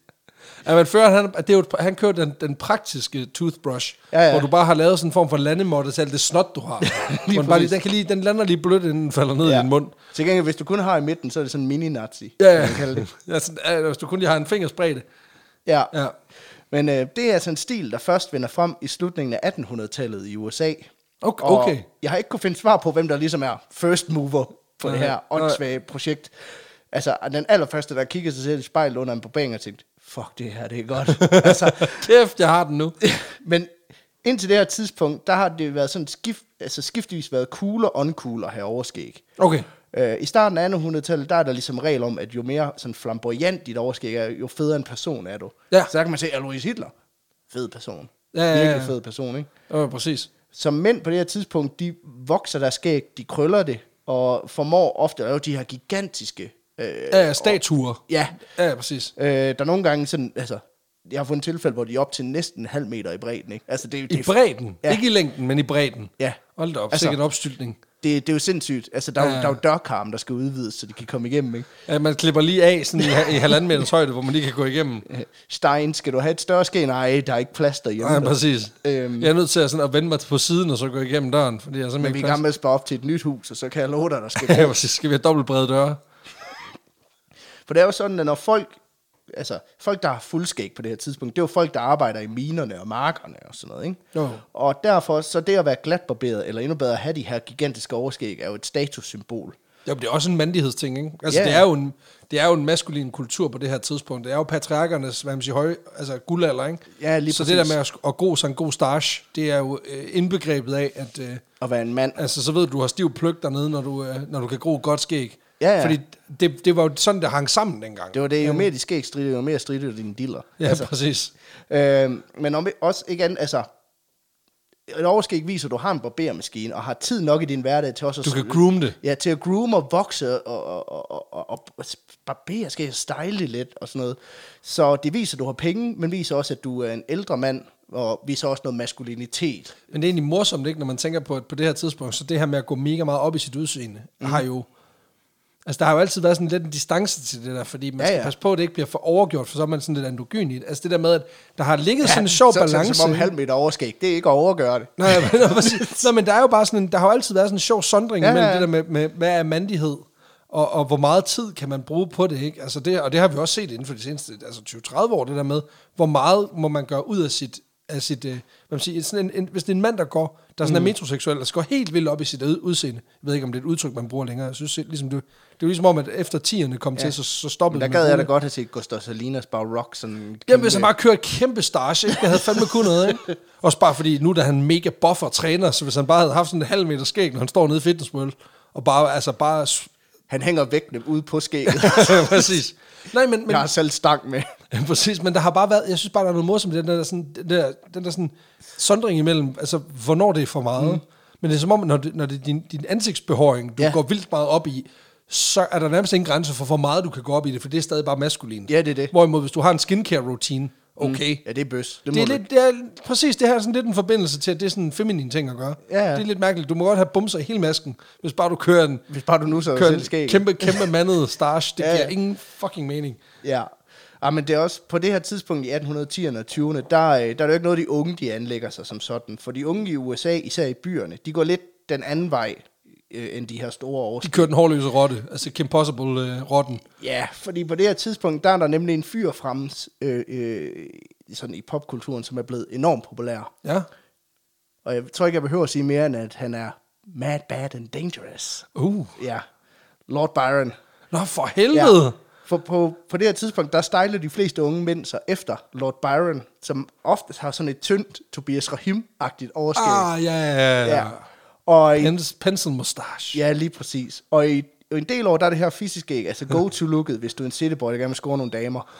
[SPEAKER 1] Ja, men før, han, det er jo, et- han kører den, den praktiske toothbrush,
[SPEAKER 2] Ja, ja.
[SPEAKER 1] hvor du bare har lavet sådan en form for landemåtte til alt det snot, du har. lige man bare lige,
[SPEAKER 2] præcis.
[SPEAKER 1] den, kan lige, den lander lige blødt, inden den falder ned ja. i din mund.
[SPEAKER 2] Til gengæld, hvis du kun har i midten, så er det sådan en mini-nazi.
[SPEAKER 1] Ja,
[SPEAKER 2] kan man kalde
[SPEAKER 1] ja.
[SPEAKER 2] det.
[SPEAKER 1] ja sådan, ja, hvis du kun lige har en fingersbredde.
[SPEAKER 2] ja.
[SPEAKER 1] Ja.
[SPEAKER 2] ja. Men øh, det er altså en stil, der først vender frem i slutningen af 1800-tallet i USA.
[SPEAKER 1] Okay-
[SPEAKER 2] Og
[SPEAKER 1] okay.
[SPEAKER 2] jeg har ikke kunne finde svar på, hvem der ligesom er first mover på det
[SPEAKER 1] Nej,
[SPEAKER 2] her
[SPEAKER 1] nej.
[SPEAKER 2] åndssvage projekt. Altså, den allerførste, der kiggede sig selv i spejlet under en barbering og tænkte, fuck det her, det er godt. altså,
[SPEAKER 1] Kæft, jeg har den nu.
[SPEAKER 2] Men indtil det her tidspunkt, der har det været sådan skift, altså skiftvis været cool og uncool at have overskæg.
[SPEAKER 1] Okay.
[SPEAKER 2] Øh, I starten af 1800-tallet, der er der ligesom regel om, at jo mere sådan flamboyant dit overskæg er, jo federe en person er du.
[SPEAKER 1] Ja.
[SPEAKER 2] Så der kan man se, at Louise Hitler, fed person.
[SPEAKER 1] Ja, ja, ja, ja.
[SPEAKER 2] Virkelig fed person, ikke?
[SPEAKER 1] Ja, præcis.
[SPEAKER 2] Som mænd på det her tidspunkt, de vokser deres skæg, de krøller det, og formår ofte at lave de her gigantiske... Øh,
[SPEAKER 1] Ja, ja, statuer.
[SPEAKER 2] ja,
[SPEAKER 1] Ja, ja, præcis.
[SPEAKER 2] øh, der er nogle gange sådan, altså, jeg har fundet tilfælde, hvor de er op til næsten en halv meter i bredden, ikke? Altså, det, er- det,
[SPEAKER 1] I
[SPEAKER 2] er-
[SPEAKER 1] bredden.
[SPEAKER 2] Ja.
[SPEAKER 1] Ja. Ikke i længden, men i bredden.
[SPEAKER 2] Ja.
[SPEAKER 1] Hold da op, altså,
[SPEAKER 2] Altså-
[SPEAKER 1] sikkert opstyltning.
[SPEAKER 2] det, det er jo sindssygt. Altså, der, ja.
[SPEAKER 1] Ja.
[SPEAKER 2] der er jo dørkarm, der skal udvides, så de kan komme igennem, ikke?
[SPEAKER 1] Ja, man klipper lige af sådan i, ha- i halvanden meters højde, hvor man lige kan gå igennem.
[SPEAKER 2] Stein, skal du have et større ske? Nej, der er ikke plads derhjemme.
[SPEAKER 1] Ja, præcis.
[SPEAKER 2] Øhm.
[SPEAKER 1] Øhm. Jeg er nødt til at, sådan, at vende mig på siden, og så gå igennem døren, fordi jeg
[SPEAKER 2] Men
[SPEAKER 1] simpelthen
[SPEAKER 2] vi er
[SPEAKER 1] ikke
[SPEAKER 2] i gang
[SPEAKER 1] plads.
[SPEAKER 2] med at spare op til et nyt hus, og så kan jeg love dig, der skal
[SPEAKER 1] Ja, præcis. Skal vi have dobbeltbrede døre?
[SPEAKER 2] For det er jo sådan, at når folk, altså folk, der har fuldskæg på det her tidspunkt, det er jo folk, der arbejder i minerne og markerne og sådan noget, ikke?
[SPEAKER 1] Jo.
[SPEAKER 2] Og derfor, så det at være glatbarberet, eller endnu bedre, have de her gigantiske overskæg, er jo et statussymbol.
[SPEAKER 1] Jo, men det er også en mandighedsting, ikke? Altså,
[SPEAKER 2] Ja.
[SPEAKER 1] yeah. det, er jo en, det er jo en maskulin kultur på det her tidspunkt. Det er jo patriarkernes, hvad man siger, høj, altså guldalder, ikke?
[SPEAKER 2] Ja, lige
[SPEAKER 1] Så
[SPEAKER 2] præcis.
[SPEAKER 1] det der med at, sk- at gå sådan en god stash, det er jo øh, indbegrebet af, at øh,
[SPEAKER 2] At være en mand.
[SPEAKER 1] altså, så ved du, du har stiv pløk dernede, når du, øh, når du kan gro et godt skæg.
[SPEAKER 2] Ja, ja.
[SPEAKER 1] Fordi det, det var jo sådan, det hang sammen dengang.
[SPEAKER 2] Det var det, jo mere de skæg strider, jo mere strider dine diller.
[SPEAKER 1] Ja, altså. præcis.
[SPEAKER 2] Øh, men om, også ikke andet, altså, et overskæg viser, at du har en barbermaskine, og har tid nok i din hverdag til også at...
[SPEAKER 1] Du kan groome det.
[SPEAKER 2] Ja, til at groome og vokse og, og, og, og, og, og barbere, skal jeg style det lidt og sådan noget. Så det viser, at du har penge, men viser også, at du er en ældre mand, og viser også noget maskulinitet.
[SPEAKER 1] Men det er egentlig morsomt, ikke, når man tænker på, at på det her tidspunkt, så det her med at gå mega meget op i sit udseende,
[SPEAKER 2] Mhm.
[SPEAKER 1] mm. har jo... Altså, der har jo altid været sådan lidt en distance til det der, fordi man
[SPEAKER 2] Ja,
[SPEAKER 1] ja, skal
[SPEAKER 2] ja.
[SPEAKER 1] ja. passe på, at det ikke bliver for overgjort, for så er man sådan lidt androgyn i det. Altså det der med, at der har ligget ja, sådan en sjov
[SPEAKER 2] så tager det
[SPEAKER 1] balance.
[SPEAKER 2] Som om
[SPEAKER 1] ikke?
[SPEAKER 2] halv meter overskæg, det er ikke at overgøre det.
[SPEAKER 1] Nej, men, nå, præcis. Nå, men der er jo bare sådan en, der har jo altid været sådan en sjov sondring
[SPEAKER 2] Ja,
[SPEAKER 1] ja,
[SPEAKER 2] ja,
[SPEAKER 1] mellem
[SPEAKER 2] ja.
[SPEAKER 1] det der med, med hvad er mandighed, og, og hvor meget tid kan man bruge på det, ikke? Altså det, og det har vi også set inden for de seneste altså 20-30 år, det der med, hvor meget må man gøre ud af sit, af sit øh, hvad man siger, sådan en, en, hvis det er en mand, der går, der sådan mm. er metroseksuel, der går helt vildt op i sit ud- udseende. Jeg ved ikke, om det er et udtryk, man bruger længere. Jeg synes, det, ligesom, det, det er jo ligesom om, at efter 10'erne kom ja. til, så, så
[SPEAKER 2] Men
[SPEAKER 1] stoppede
[SPEAKER 2] der
[SPEAKER 1] man
[SPEAKER 2] gad jeg da
[SPEAKER 1] hurtigt.
[SPEAKER 2] godt have set Gustav Salinas bare rock sådan... en
[SPEAKER 1] Jamen, hvis
[SPEAKER 2] kæmpe-
[SPEAKER 1] han bare kører et kæmpe stage, ikke? Jeg havde fandme kun noget, ikke? Også bare fordi, nu da han mega buffer træner, så hvis han bare havde haft sådan en halv meter skæg, når han står nede i fitnessmølle, og bare, altså bare... s-
[SPEAKER 2] Han hænger vægtene ude på skægget.
[SPEAKER 1] præcis. Nej, men, men,
[SPEAKER 2] Jeg har selv stang med.
[SPEAKER 1] ja. præcis, men der har bare været, jeg synes bare, der er noget morsomt i den der, sådan, den der, den der sådan sondring imellem, altså, hvornår det er for meget. Mm. Men det er som om, når det, når det er din, din ansigtsbehåring, du
[SPEAKER 2] Ja.
[SPEAKER 1] ja. går vildt meget op i, så er der nærmest ingen grænse for, hvor meget du kan gå op i det, for det er stadig bare maskulin.
[SPEAKER 2] Ja, det er det.
[SPEAKER 1] Hvorimod, hvis du har en skincare-routine, okay,
[SPEAKER 2] Ja, det er bøs. Det,
[SPEAKER 1] Det er,
[SPEAKER 2] må du-
[SPEAKER 1] lidt, det er præcis det her er sådan lidt en forbindelse til, at det er sådan en feminin ting at gøre.
[SPEAKER 2] Ja, ja.
[SPEAKER 1] Det er lidt mærkeligt. Du må godt have bumser i hele masken, hvis bare du kører en,
[SPEAKER 2] Hvis bare du nu så
[SPEAKER 1] kører
[SPEAKER 2] selv
[SPEAKER 1] en
[SPEAKER 2] skæg.
[SPEAKER 1] kæmpe, kæmpe mandet stash. Det
[SPEAKER 2] Ja, ja.
[SPEAKER 1] ja, giver ingen fucking mening.
[SPEAKER 2] Ja. Ja, men det er også på det her tidspunkt i 1810'erne og 20'erne, der, øh, der er det jo ikke noget, de unge de anlægger sig som sådan. For de unge i USA, især i byerne, de går lidt den anden vej øh, end de her store
[SPEAKER 1] De
[SPEAKER 2] årsag.
[SPEAKER 1] kører den hårløse rotte, altså Kim Possible-rotten.
[SPEAKER 2] Ja, fordi på det her tidspunkt, der er der nemlig en fyr frem øh, øh, sådan i popkulturen, som er blevet enormt populær.
[SPEAKER 1] ja.
[SPEAKER 2] Og jeg tror ikke, jeg behøver at sige mere, end at han er mad, bad and dangerous.
[SPEAKER 1] Uh.
[SPEAKER 2] Ja, Lord Byron.
[SPEAKER 1] Nå, for helvede. Ja.
[SPEAKER 2] For på, på det her tidspunkt, der stejler de fleste unge mænd sig efter Lord Byron, som ofte har sådan et tyndt Tobias Rahim-agtigt overskæg.
[SPEAKER 1] Ah, ja, ja, ja.
[SPEAKER 2] ja.
[SPEAKER 1] ja.
[SPEAKER 2] Og i,
[SPEAKER 1] Pens, pencil mustache.
[SPEAKER 2] ja, lige præcis. Og i og en del år, der er det her fysiskæg, altså go-to-looket, hvis du er en cityboy, der gerne vil score nogle damer.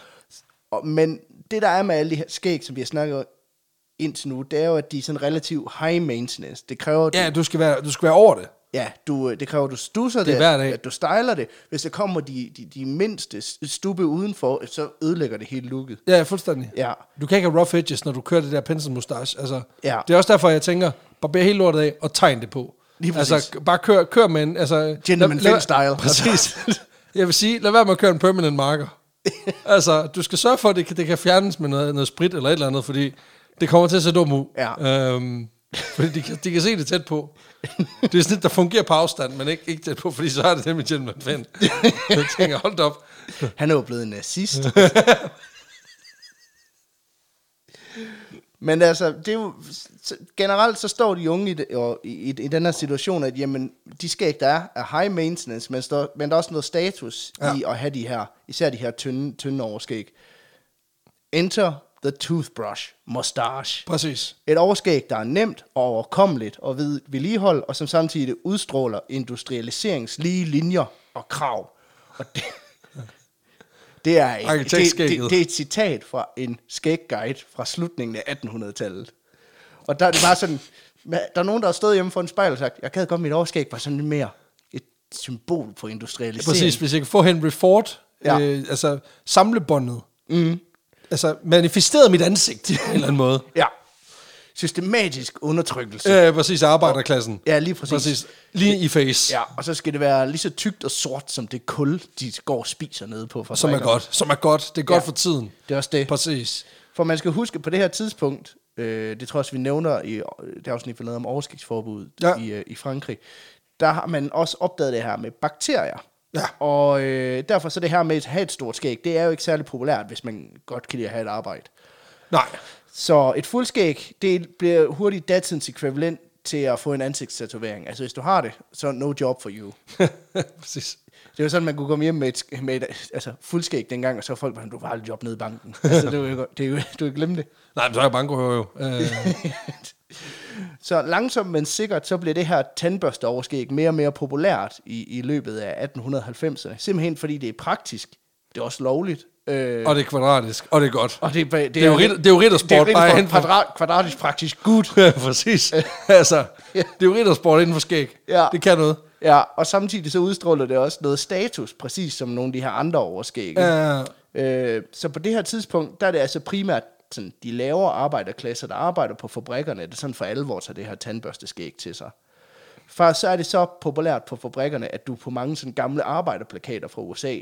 [SPEAKER 2] Og, men det, der er med alle de her skæg, som vi har snakket om indtil nu, det er jo, at de er sådan relativt high maintenance. Det kræver, at du,
[SPEAKER 1] Ja, du skal være, du skal være over det.
[SPEAKER 2] ja, du, øh, det kræver, at du stusser det,
[SPEAKER 1] er hver dag.
[SPEAKER 2] at du styler det. Hvis der kommer de, de, de mindste stube udenfor, så ødelægger det hele looket.
[SPEAKER 1] Ja, fuldstændig.
[SPEAKER 2] Ja.
[SPEAKER 1] Du kan ikke have rough edges, når du kører det der pencil mustache. Altså,
[SPEAKER 2] Ja.
[SPEAKER 1] Det er også derfor, jeg tænker, barber hele lortet af og tegn det på.
[SPEAKER 2] Lige præcis.
[SPEAKER 1] altså, g- bare kør, kør med en... Altså,
[SPEAKER 2] Gentleman
[SPEAKER 1] lad- lad-
[SPEAKER 2] Finn-style.
[SPEAKER 1] Præcis. jeg vil sige, lad være med at køre en permanent marker. altså, du skal sørge for, at det kan, det kan fjernes med noget, noget sprit eller et eller andet, fordi det kommer til at se dumt ud.
[SPEAKER 2] Ja.
[SPEAKER 1] Øhm, fordi de kan, de kan se det tæt på. Det er sådan et, der fungerer på afstand, men ikke, ikke tæt på, fordi så er det nemlig gentleman fan. jeg tænker, hold da op.
[SPEAKER 2] Han er jo blevet en nazist. Men altså, det er jo, så- generelt så står de unge i, det, og, i, i, i den her situation, at jamen, de skæg, der er, er high maintenance, men, står, men der er også noget status ja. i at have de her, især de her tynde, tynde overskæg. Enter The Toothbrush Mustache.
[SPEAKER 1] Præcis.
[SPEAKER 2] Et overskæg, der er nemt og overkommeligt at ved- vedligeholde, og som samtidig udstråler industrialiseringslige linjer og krav. Og det, det, er, et, det,
[SPEAKER 1] Arkitektskægget.
[SPEAKER 2] det, det er et citat fra en skægguide fra slutningen af 1800-tallet. Og der er det bare sådan, hva- der er nogen, der har stået hjemme for en spejl og sagt, jeg gad godt, mit overskæg var sådan lidt mere et symbol på industrialisering.
[SPEAKER 1] Præcis, hvis jeg kan få Henry Ford,
[SPEAKER 2] Ja.
[SPEAKER 1] ja. øh, altså samlebåndet. Mm. Altså manifesteret mit ansigt, på en eller anden måde.
[SPEAKER 2] Ja. Systematisk undertrykkelse.
[SPEAKER 1] Ja, præcis, arbejderklassen.
[SPEAKER 2] Ja, lige præcis.
[SPEAKER 1] Øh, Præcis, lige i face, ja.
[SPEAKER 2] Ja, og så skal det være lige så tykt og sort, som det kul, de går og spiser nede på.
[SPEAKER 1] som er
[SPEAKER 2] fabrikkerne.
[SPEAKER 1] godt. Som er godt, det er godt
[SPEAKER 2] Ja.
[SPEAKER 1] ja. for tiden.
[SPEAKER 2] Det er også det.
[SPEAKER 1] Præcis.
[SPEAKER 2] For man skal huske, på det her tidspunkt, øh, det tror jeg også, vi nævner i øh, det afsnit, vi lavede om overskægsforbuddet ja.
[SPEAKER 1] Ja.
[SPEAKER 2] i, øh, i Frankrig, der har man også opdaget det her med bakterier.
[SPEAKER 1] Ja.
[SPEAKER 2] Og øh, derfor så det her med at have et stort skæg, det er jo ikke særlig populært, hvis man godt kan lide at have et arbejde.
[SPEAKER 1] Nej,
[SPEAKER 2] Så et fuldskæg, det bliver hurtigt datidens ekvivalent til at få en ansigtstatovering. Altså hvis du har det, så no job for you.
[SPEAKER 1] præcis.
[SPEAKER 2] Det var sådan, man kunne komme hjem med et, sk- med et altså, fuldskæg dengang, og så var folk bare, du har aldrig job nede i banken. altså, det var jo, det er jo, du kan glemme det.
[SPEAKER 1] Nej, men så er jeg bankohører jo. Øh,
[SPEAKER 2] Så langsomt, men sikkert, så blev det her tandbørsteoverskæg mere og mere populært i, i løbet af 1890'erne. Simpelthen fordi det er praktisk. Det er også lovligt. Øh,
[SPEAKER 1] og det er kvadratisk, og det er godt.
[SPEAKER 2] og det, det,
[SPEAKER 1] det er jo rid- det er jo riddersport,
[SPEAKER 2] Det er jo
[SPEAKER 1] bare
[SPEAKER 2] riddersport,
[SPEAKER 1] hen fra-
[SPEAKER 2] kvadrat, kvadratisk praktisk. Gud.
[SPEAKER 1] Ja, præcis. altså,
[SPEAKER 2] Ja.
[SPEAKER 1] det er jo riddersport inden for skæg.
[SPEAKER 2] Ja.
[SPEAKER 1] Det kan noget.
[SPEAKER 2] Ja, og samtidig så udstråler det også noget status, præcis som nogle af de her andre overskæg.
[SPEAKER 1] Ja,
[SPEAKER 2] Øh, så på det her tidspunkt, der er det altså primært sådan, de lavere arbejderklasser, der arbejder på fabrikkerne, det er sådan for alvor tager det her tandbørsteskæg til sig. For så er det så populært på fabrikkerne, at du på mange sådan gamle arbejderplakater fra USA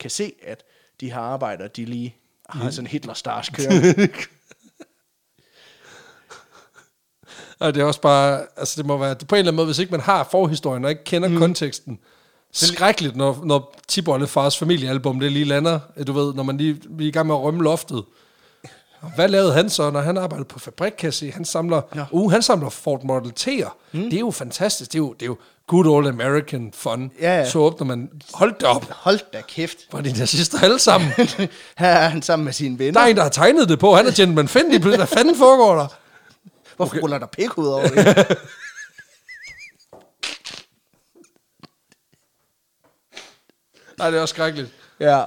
[SPEAKER 2] kan se, at de her arbejdere, de lige har sådan Hitler-stars kørende.
[SPEAKER 1] og det er også bare, altså det må være, på en eller anden måde, hvis ikke man har forhistorien og ikke kender mm. konteksten, skrækkeligt, når, når Tibollefars familiealbum, det lige lander, du ved, når man lige vi er i gang med at rømme loftet. Og Hvad lavede han så, når han arbejdede på fabrik, kan jeg se? Han samler,
[SPEAKER 2] Nå.
[SPEAKER 1] ja. uh, han samler Ford Model T'er. Mm. Det er jo fantastisk. Det er jo, det er jo good old American fun.
[SPEAKER 2] Ja, ja.
[SPEAKER 1] Så åbner man, hold da op,
[SPEAKER 2] Hold da kæft.
[SPEAKER 1] hvor er de nazister alle sammen.
[SPEAKER 2] her er han sammen med sine venner.
[SPEAKER 1] Der er en, der har tegnet det på. Han er gentleman Fendi. Hvad fanden foregår der?
[SPEAKER 2] Hvorfor okay. ruller der pik ud over det?
[SPEAKER 1] Nej, det er også skrækkeligt.
[SPEAKER 2] Ja.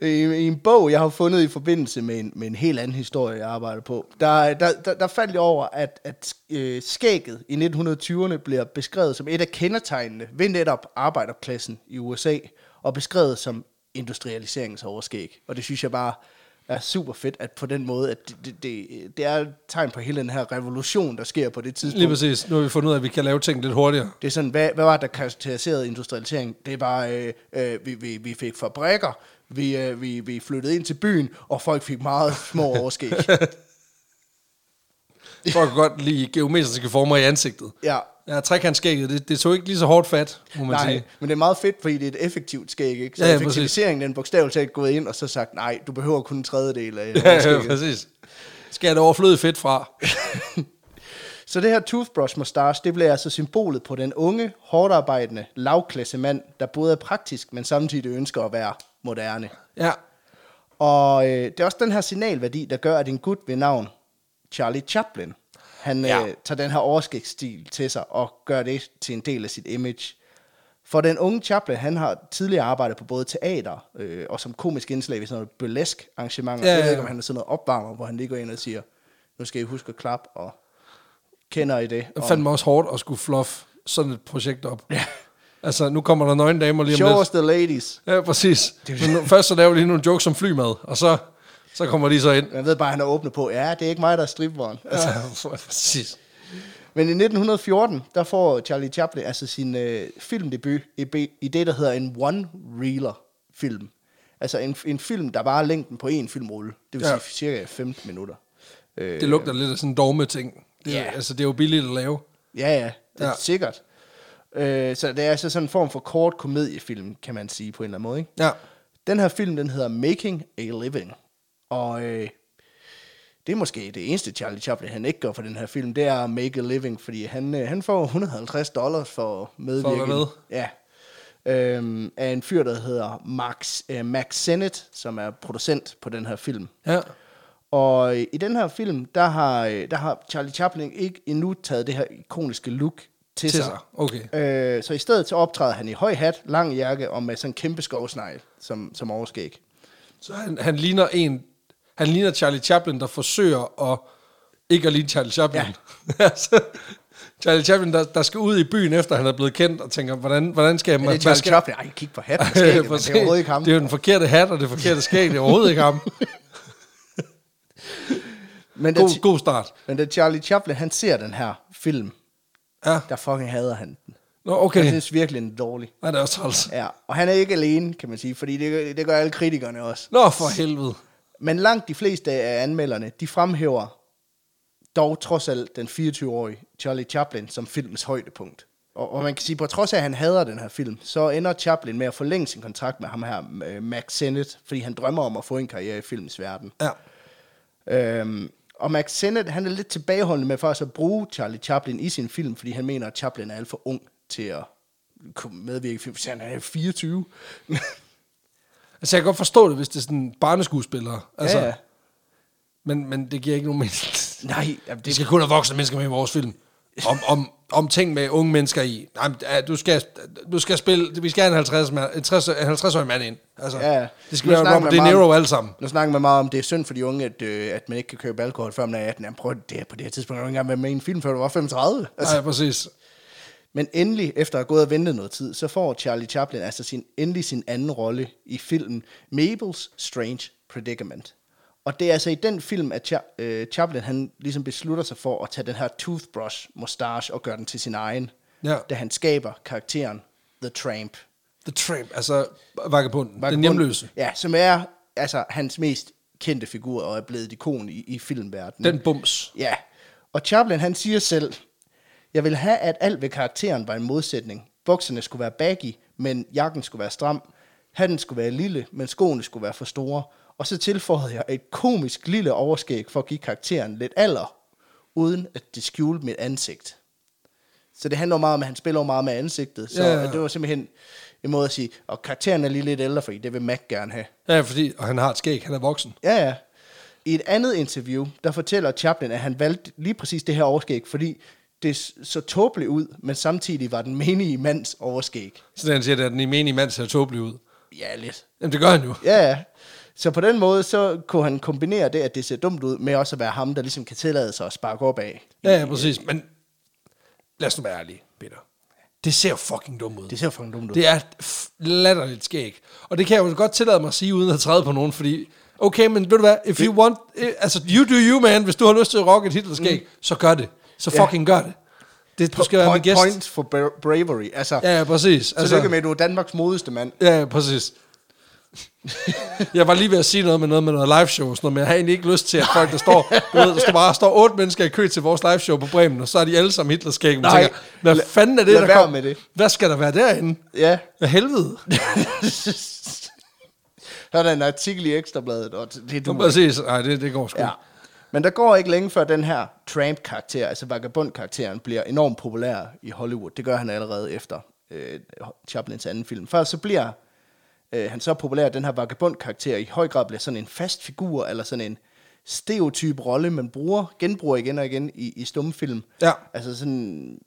[SPEAKER 2] I, I en bog, jeg har fundet i forbindelse med en, med en helt anden historie, jeg arbejder på, der, der, der, der faldt jeg over, at, at øh, skægget i 1920'erne bliver beskrevet som et af kendetegnene ved netop arbejderklassen i USA, og beskrevet som industrialiseringsoverskæg. Og det synes jeg bare er super fedt, at på den måde, at det, det, det, det er et tegn på hele den her revolution, der sker på det tidspunkt.
[SPEAKER 1] Lige præcis. Nu har vi fundet ud af, at vi kan lave ting lidt hurtigere.
[SPEAKER 2] Det er sådan, hvad, hvad var det, der karakteriserede industrialisering? Det er bare, øh, øh, vi, vi, vi fik fabrikker, vi, øh, vi, vi flyttede ind til byen, og folk fik meget små overskæg.
[SPEAKER 1] Folk kan godt lide geometriske former i ansigtet.
[SPEAKER 2] ja.
[SPEAKER 1] Ja, trekantskægget, det, det tog ikke lige så hårdt fat, må man
[SPEAKER 2] Nej,
[SPEAKER 1] sige.
[SPEAKER 2] men det er meget fedt, fordi det er et effektivt skæg, ikke? Så ja,
[SPEAKER 1] Ja, ja, præcis.
[SPEAKER 2] effektiviseringen, den bogstaveligt talt gået ind og så sagt, nej, du behøver kun en tredjedel af
[SPEAKER 1] Ja, ja,
[SPEAKER 2] overskægget."
[SPEAKER 1] præcis. Skal jeg da overfløde fedt fra?
[SPEAKER 2] Så det her toothbrush mustache, det blev altså symbolet på den unge, hårdt arbejdende, lavklassemand, der både er praktisk, men samtidig ønsker at være moderne.
[SPEAKER 1] Ja,
[SPEAKER 2] Og øh, det er også den her signalværdi, der gør, at en gut ved navn Charlie Chaplin, han ja.
[SPEAKER 1] Ja.
[SPEAKER 2] øh, tager den her overskægsstil til sig og gør det til en del af sit image. For den unge Chaplin, han har tidligere arbejdet på både teater øh, og som komisk indslag ved sådan noget burlesk arrangementer. Ja,
[SPEAKER 1] Ja,
[SPEAKER 2] ja, ja. Jeg ved
[SPEAKER 1] ja.
[SPEAKER 2] ikke, om han er sådan noget opvarmer, hvor han lige går ind og siger, nu skal I huske at klappe, og kender I det?
[SPEAKER 1] det
[SPEAKER 2] Og
[SPEAKER 1] fandt mig også hårdt at skulle fluff sådan et projekt op. Ja. Altså, nu kommer der nøgne damer lige om
[SPEAKER 2] Show us
[SPEAKER 1] lidt.
[SPEAKER 2] the ladies.
[SPEAKER 1] Ja, præcis. Men nu, først så laver de nogle jokes om flymad, og så, så kommer de så ind.
[SPEAKER 2] Man ved bare, at han er åbne på, ja, det er ikke mig, der er stripvogn.
[SPEAKER 1] Altså, præcis.
[SPEAKER 2] Men i 1914, der får Charlie Chaplin altså sin øh, filmdebut i, be- i det, der hedder en one-reeler-film. Altså en, en film, der bare er længden på én filmrulle. Det vil ja.
[SPEAKER 1] Ja.
[SPEAKER 2] sige cirka 15 minutter. Øh,
[SPEAKER 1] Det lugter lidt af sådan en dogme ting. Det,
[SPEAKER 2] Ja.
[SPEAKER 1] yeah. Altså, det er jo billigt at lave.
[SPEAKER 2] ja, ja, det er ja.
[SPEAKER 1] Ja.
[SPEAKER 2] sikkert. Øh, så det er altså sådan en form for kort komediefilm, kan man sige på en eller anden måde. Ikke?
[SPEAKER 1] Ja.
[SPEAKER 2] Den her film, den hedder Making a Living. Og øh, det er måske det eneste Charlie Chaplin, han ikke gør for den her film, det er at make a living, fordi han, øh, han får 150 dollars for medvirken.
[SPEAKER 1] med.
[SPEAKER 2] Ja. Øhm, af en fyr, der hedder Max, øh, Max Sennett, som er producent på den her film.
[SPEAKER 1] ja.
[SPEAKER 2] Og øh, i den her film, der har, øh, der har Charlie Chaplin ikke endnu taget det her ikoniske look til,
[SPEAKER 1] Til
[SPEAKER 2] sig.
[SPEAKER 1] sig. Okay.
[SPEAKER 2] Øh, så i stedet så optræder han i høj hat, lang jakke og med sådan en kæmpe skovsnegl som, som overskæg.
[SPEAKER 1] Så han, han ligner en... Han ligner Charlie Chaplin, der forsøger at... Ikke at ligne Charlie Chaplin. Ja. altså, Charlie Chaplin, der, der skal ud i byen, efter han er blevet kendt, og tænker, hvordan, hvordan skal jeg...
[SPEAKER 2] Men det er
[SPEAKER 1] man
[SPEAKER 2] Charlie
[SPEAKER 1] skal-
[SPEAKER 2] Chaplin. Ej, kig på hatten og skægget, men
[SPEAKER 1] For
[SPEAKER 2] det er overhovedet ikke ham.
[SPEAKER 1] Det er jo den forkerte hat, og det forkerte skæg, det er overhovedet ikke ham.
[SPEAKER 2] Men da,
[SPEAKER 1] God, god start.
[SPEAKER 2] men da Charlie Chaplin, han ser den her film,
[SPEAKER 1] Ja.
[SPEAKER 2] der fucking hader han den.
[SPEAKER 1] Nå,
[SPEAKER 2] Han
[SPEAKER 1] okay.
[SPEAKER 2] synes virkelig, den er dårlig.
[SPEAKER 1] Nej, det er også træls.
[SPEAKER 2] Ja, og han er ikke alene, kan man sige, fordi det, det gør alle kritikerne også.
[SPEAKER 1] Nå, for helvede.
[SPEAKER 2] Men langt de fleste af anmelderne, de fremhæver dog trods alt den 24-årige Charlie Chaplin som filmens højdepunkt. Og, og man kan sige, på trods af, at han hader den her film, så ender Chaplin med at forlænge sin kontrakt med ham her, øh, Max Sennett, fordi han drømmer om at få en karriere i filmens verden.
[SPEAKER 1] Ja.
[SPEAKER 2] Øhm, og Max Sennett, han er lidt tilbageholdende med faktisk at bruge Charlie Chaplin i sin film, fordi han mener, at Chaplin er alt for ung til at kunne medvirke i film. Så Han er 24.
[SPEAKER 1] Altså, jeg kan godt forstå det, hvis det er sådan barneskuespillere. Altså,
[SPEAKER 2] ja, ja.
[SPEAKER 1] Men, men det giver ikke nogen mening.
[SPEAKER 2] Nej, jamen,
[SPEAKER 1] Det
[SPEAKER 2] det,
[SPEAKER 1] skal kun have voksne mennesker med i vores film. Om, om, om ting med unge mennesker i. Nej, men, ja, du skal, du skal spille... Vi skal have en 50 mand- en 60 en 50-årig mand ind. Altså,
[SPEAKER 2] Ja,
[SPEAKER 1] det skal
[SPEAKER 2] nu
[SPEAKER 1] være
[SPEAKER 2] snakker
[SPEAKER 1] Robert
[SPEAKER 2] man
[SPEAKER 1] De
[SPEAKER 2] meget
[SPEAKER 1] Niro
[SPEAKER 2] om-
[SPEAKER 1] alle sammen.
[SPEAKER 2] Nu snakker man meget om, det er synd for de unge, at, øh, at man ikke kan købe alkohol, før man er 18. Jamen, prøv, at- det er på det her tidspunkt, har du ikke engang været med i en film, før du var 35. Altså.
[SPEAKER 1] Altså. Ja, præcis.
[SPEAKER 2] Men endelig, efter at have gået og ventet noget tid, så får Charlie Chaplin altså sin, endelig sin anden rolle i filmen Mabel's Strange Predicament. Og det er altså i den film, at Cha- øh, Chaplin han ligesom beslutter sig for at tage den her toothbrush mustache og gøre den til sin egen,
[SPEAKER 1] Ja.
[SPEAKER 2] da han skaber karakteren The Tramp.
[SPEAKER 1] The Tramp, altså vagabunden, den
[SPEAKER 2] Vagabond-
[SPEAKER 1] hjemløse.
[SPEAKER 2] Ja, som er altså hans mest kendte figur og er blevet et ikon i, i filmverdenen.
[SPEAKER 1] Den bums.
[SPEAKER 2] Ja, og Chaplin han siger selv, jeg vil have, at alt ved karakteren var en modsætning. Bukserne skulle være baggy, men jakken skulle være stram. Hatten skulle være lille, men skoene skulle være for store. Og så tilføjede jeg et komisk lille overskæg for at give karakteren lidt alder, uden at det skjulte mit ansigt. Så det handler meget om, at han spiller jo meget med ansigtet. Så
[SPEAKER 1] Ja, ja,
[SPEAKER 2] ja,
[SPEAKER 1] ja.
[SPEAKER 2] det var simpelthen en måde at sige, og karakteren er lige lidt ældre, fordi det vil Mac gerne have.
[SPEAKER 1] Ja, fordi og han har et skæg, han er voksen.
[SPEAKER 2] Ja, ja. I et andet interview, der fortæller Chaplin, at han valgte lige præcis det her overskæg, fordi det s- så tåbeligt ud, men samtidig var den menige mands overskæg.
[SPEAKER 1] Så han siger, at den i menig mand ser tåbelig ud.
[SPEAKER 2] Ja, lidt.
[SPEAKER 1] Jamen, det gør han jo.
[SPEAKER 2] Ja, ja. Så på den måde, så kunne han kombinere det, at det ser dumt ud, med også at være ham, der ligesom kan tillade sig at sparke op af.
[SPEAKER 1] Ja, ja præcis. Men lad os nu være ærlige, Peter. Det ser jo fucking dumt ud.
[SPEAKER 2] Det ser jo fucking dumt ud.
[SPEAKER 1] Det er f- latterligt skæg. Og det kan jeg jo godt tillade mig at sige, uden at træde på nogen, fordi, okay, men ved du hvad, if you want, eh, altså, you do you, man, hvis du har lyst til at rocke et Hitler-skæg, mm. så gør det. Så
[SPEAKER 2] Ja.
[SPEAKER 1] fucking gør det. det du skal være min
[SPEAKER 2] point,
[SPEAKER 1] gæst.
[SPEAKER 2] point for bra- bravery. Altså, ja,
[SPEAKER 1] Ja, ja, præcis.
[SPEAKER 2] altså, tillykke med, at du er Danmarks modigste mand.
[SPEAKER 1] Ja, ja, præcis. jeg var lige ved at sige noget med noget med noget live show og sådan noget, men jeg har egentlig ikke lyst til, at folk, der står, du ved, der skal bare står otte mennesker i kø til vores live show på Bremen, og så er de alle sammen Hitlerskæg. Man
[SPEAKER 2] Nej.
[SPEAKER 1] tænker, hvad
[SPEAKER 2] Lad-
[SPEAKER 1] fanden er det,
[SPEAKER 2] lad
[SPEAKER 1] der
[SPEAKER 2] være
[SPEAKER 1] kom?
[SPEAKER 2] med det.
[SPEAKER 1] Hvad skal der være derinde?
[SPEAKER 2] Ja.
[SPEAKER 1] Hvad helvede?
[SPEAKER 2] der er der en artikel i Ekstrabladet, og det er du.
[SPEAKER 1] Præcis. Nej, det, det går sgu
[SPEAKER 2] Ja.
[SPEAKER 1] ikke.
[SPEAKER 2] Men der går ikke længe før den her Tramp-karakter, altså vagabond-karakteren, bliver enormt populær i Hollywood. Det gør han allerede efter øh, Chaplins anden film. Først så bliver øh, han så populær, at den her vagabond-karakter i høj grad bliver sådan en fast figur, eller sådan en stereotyp rolle, man bruger, genbruger igen og igen i, i stumfilm.
[SPEAKER 1] Ja.
[SPEAKER 2] Altså sådan,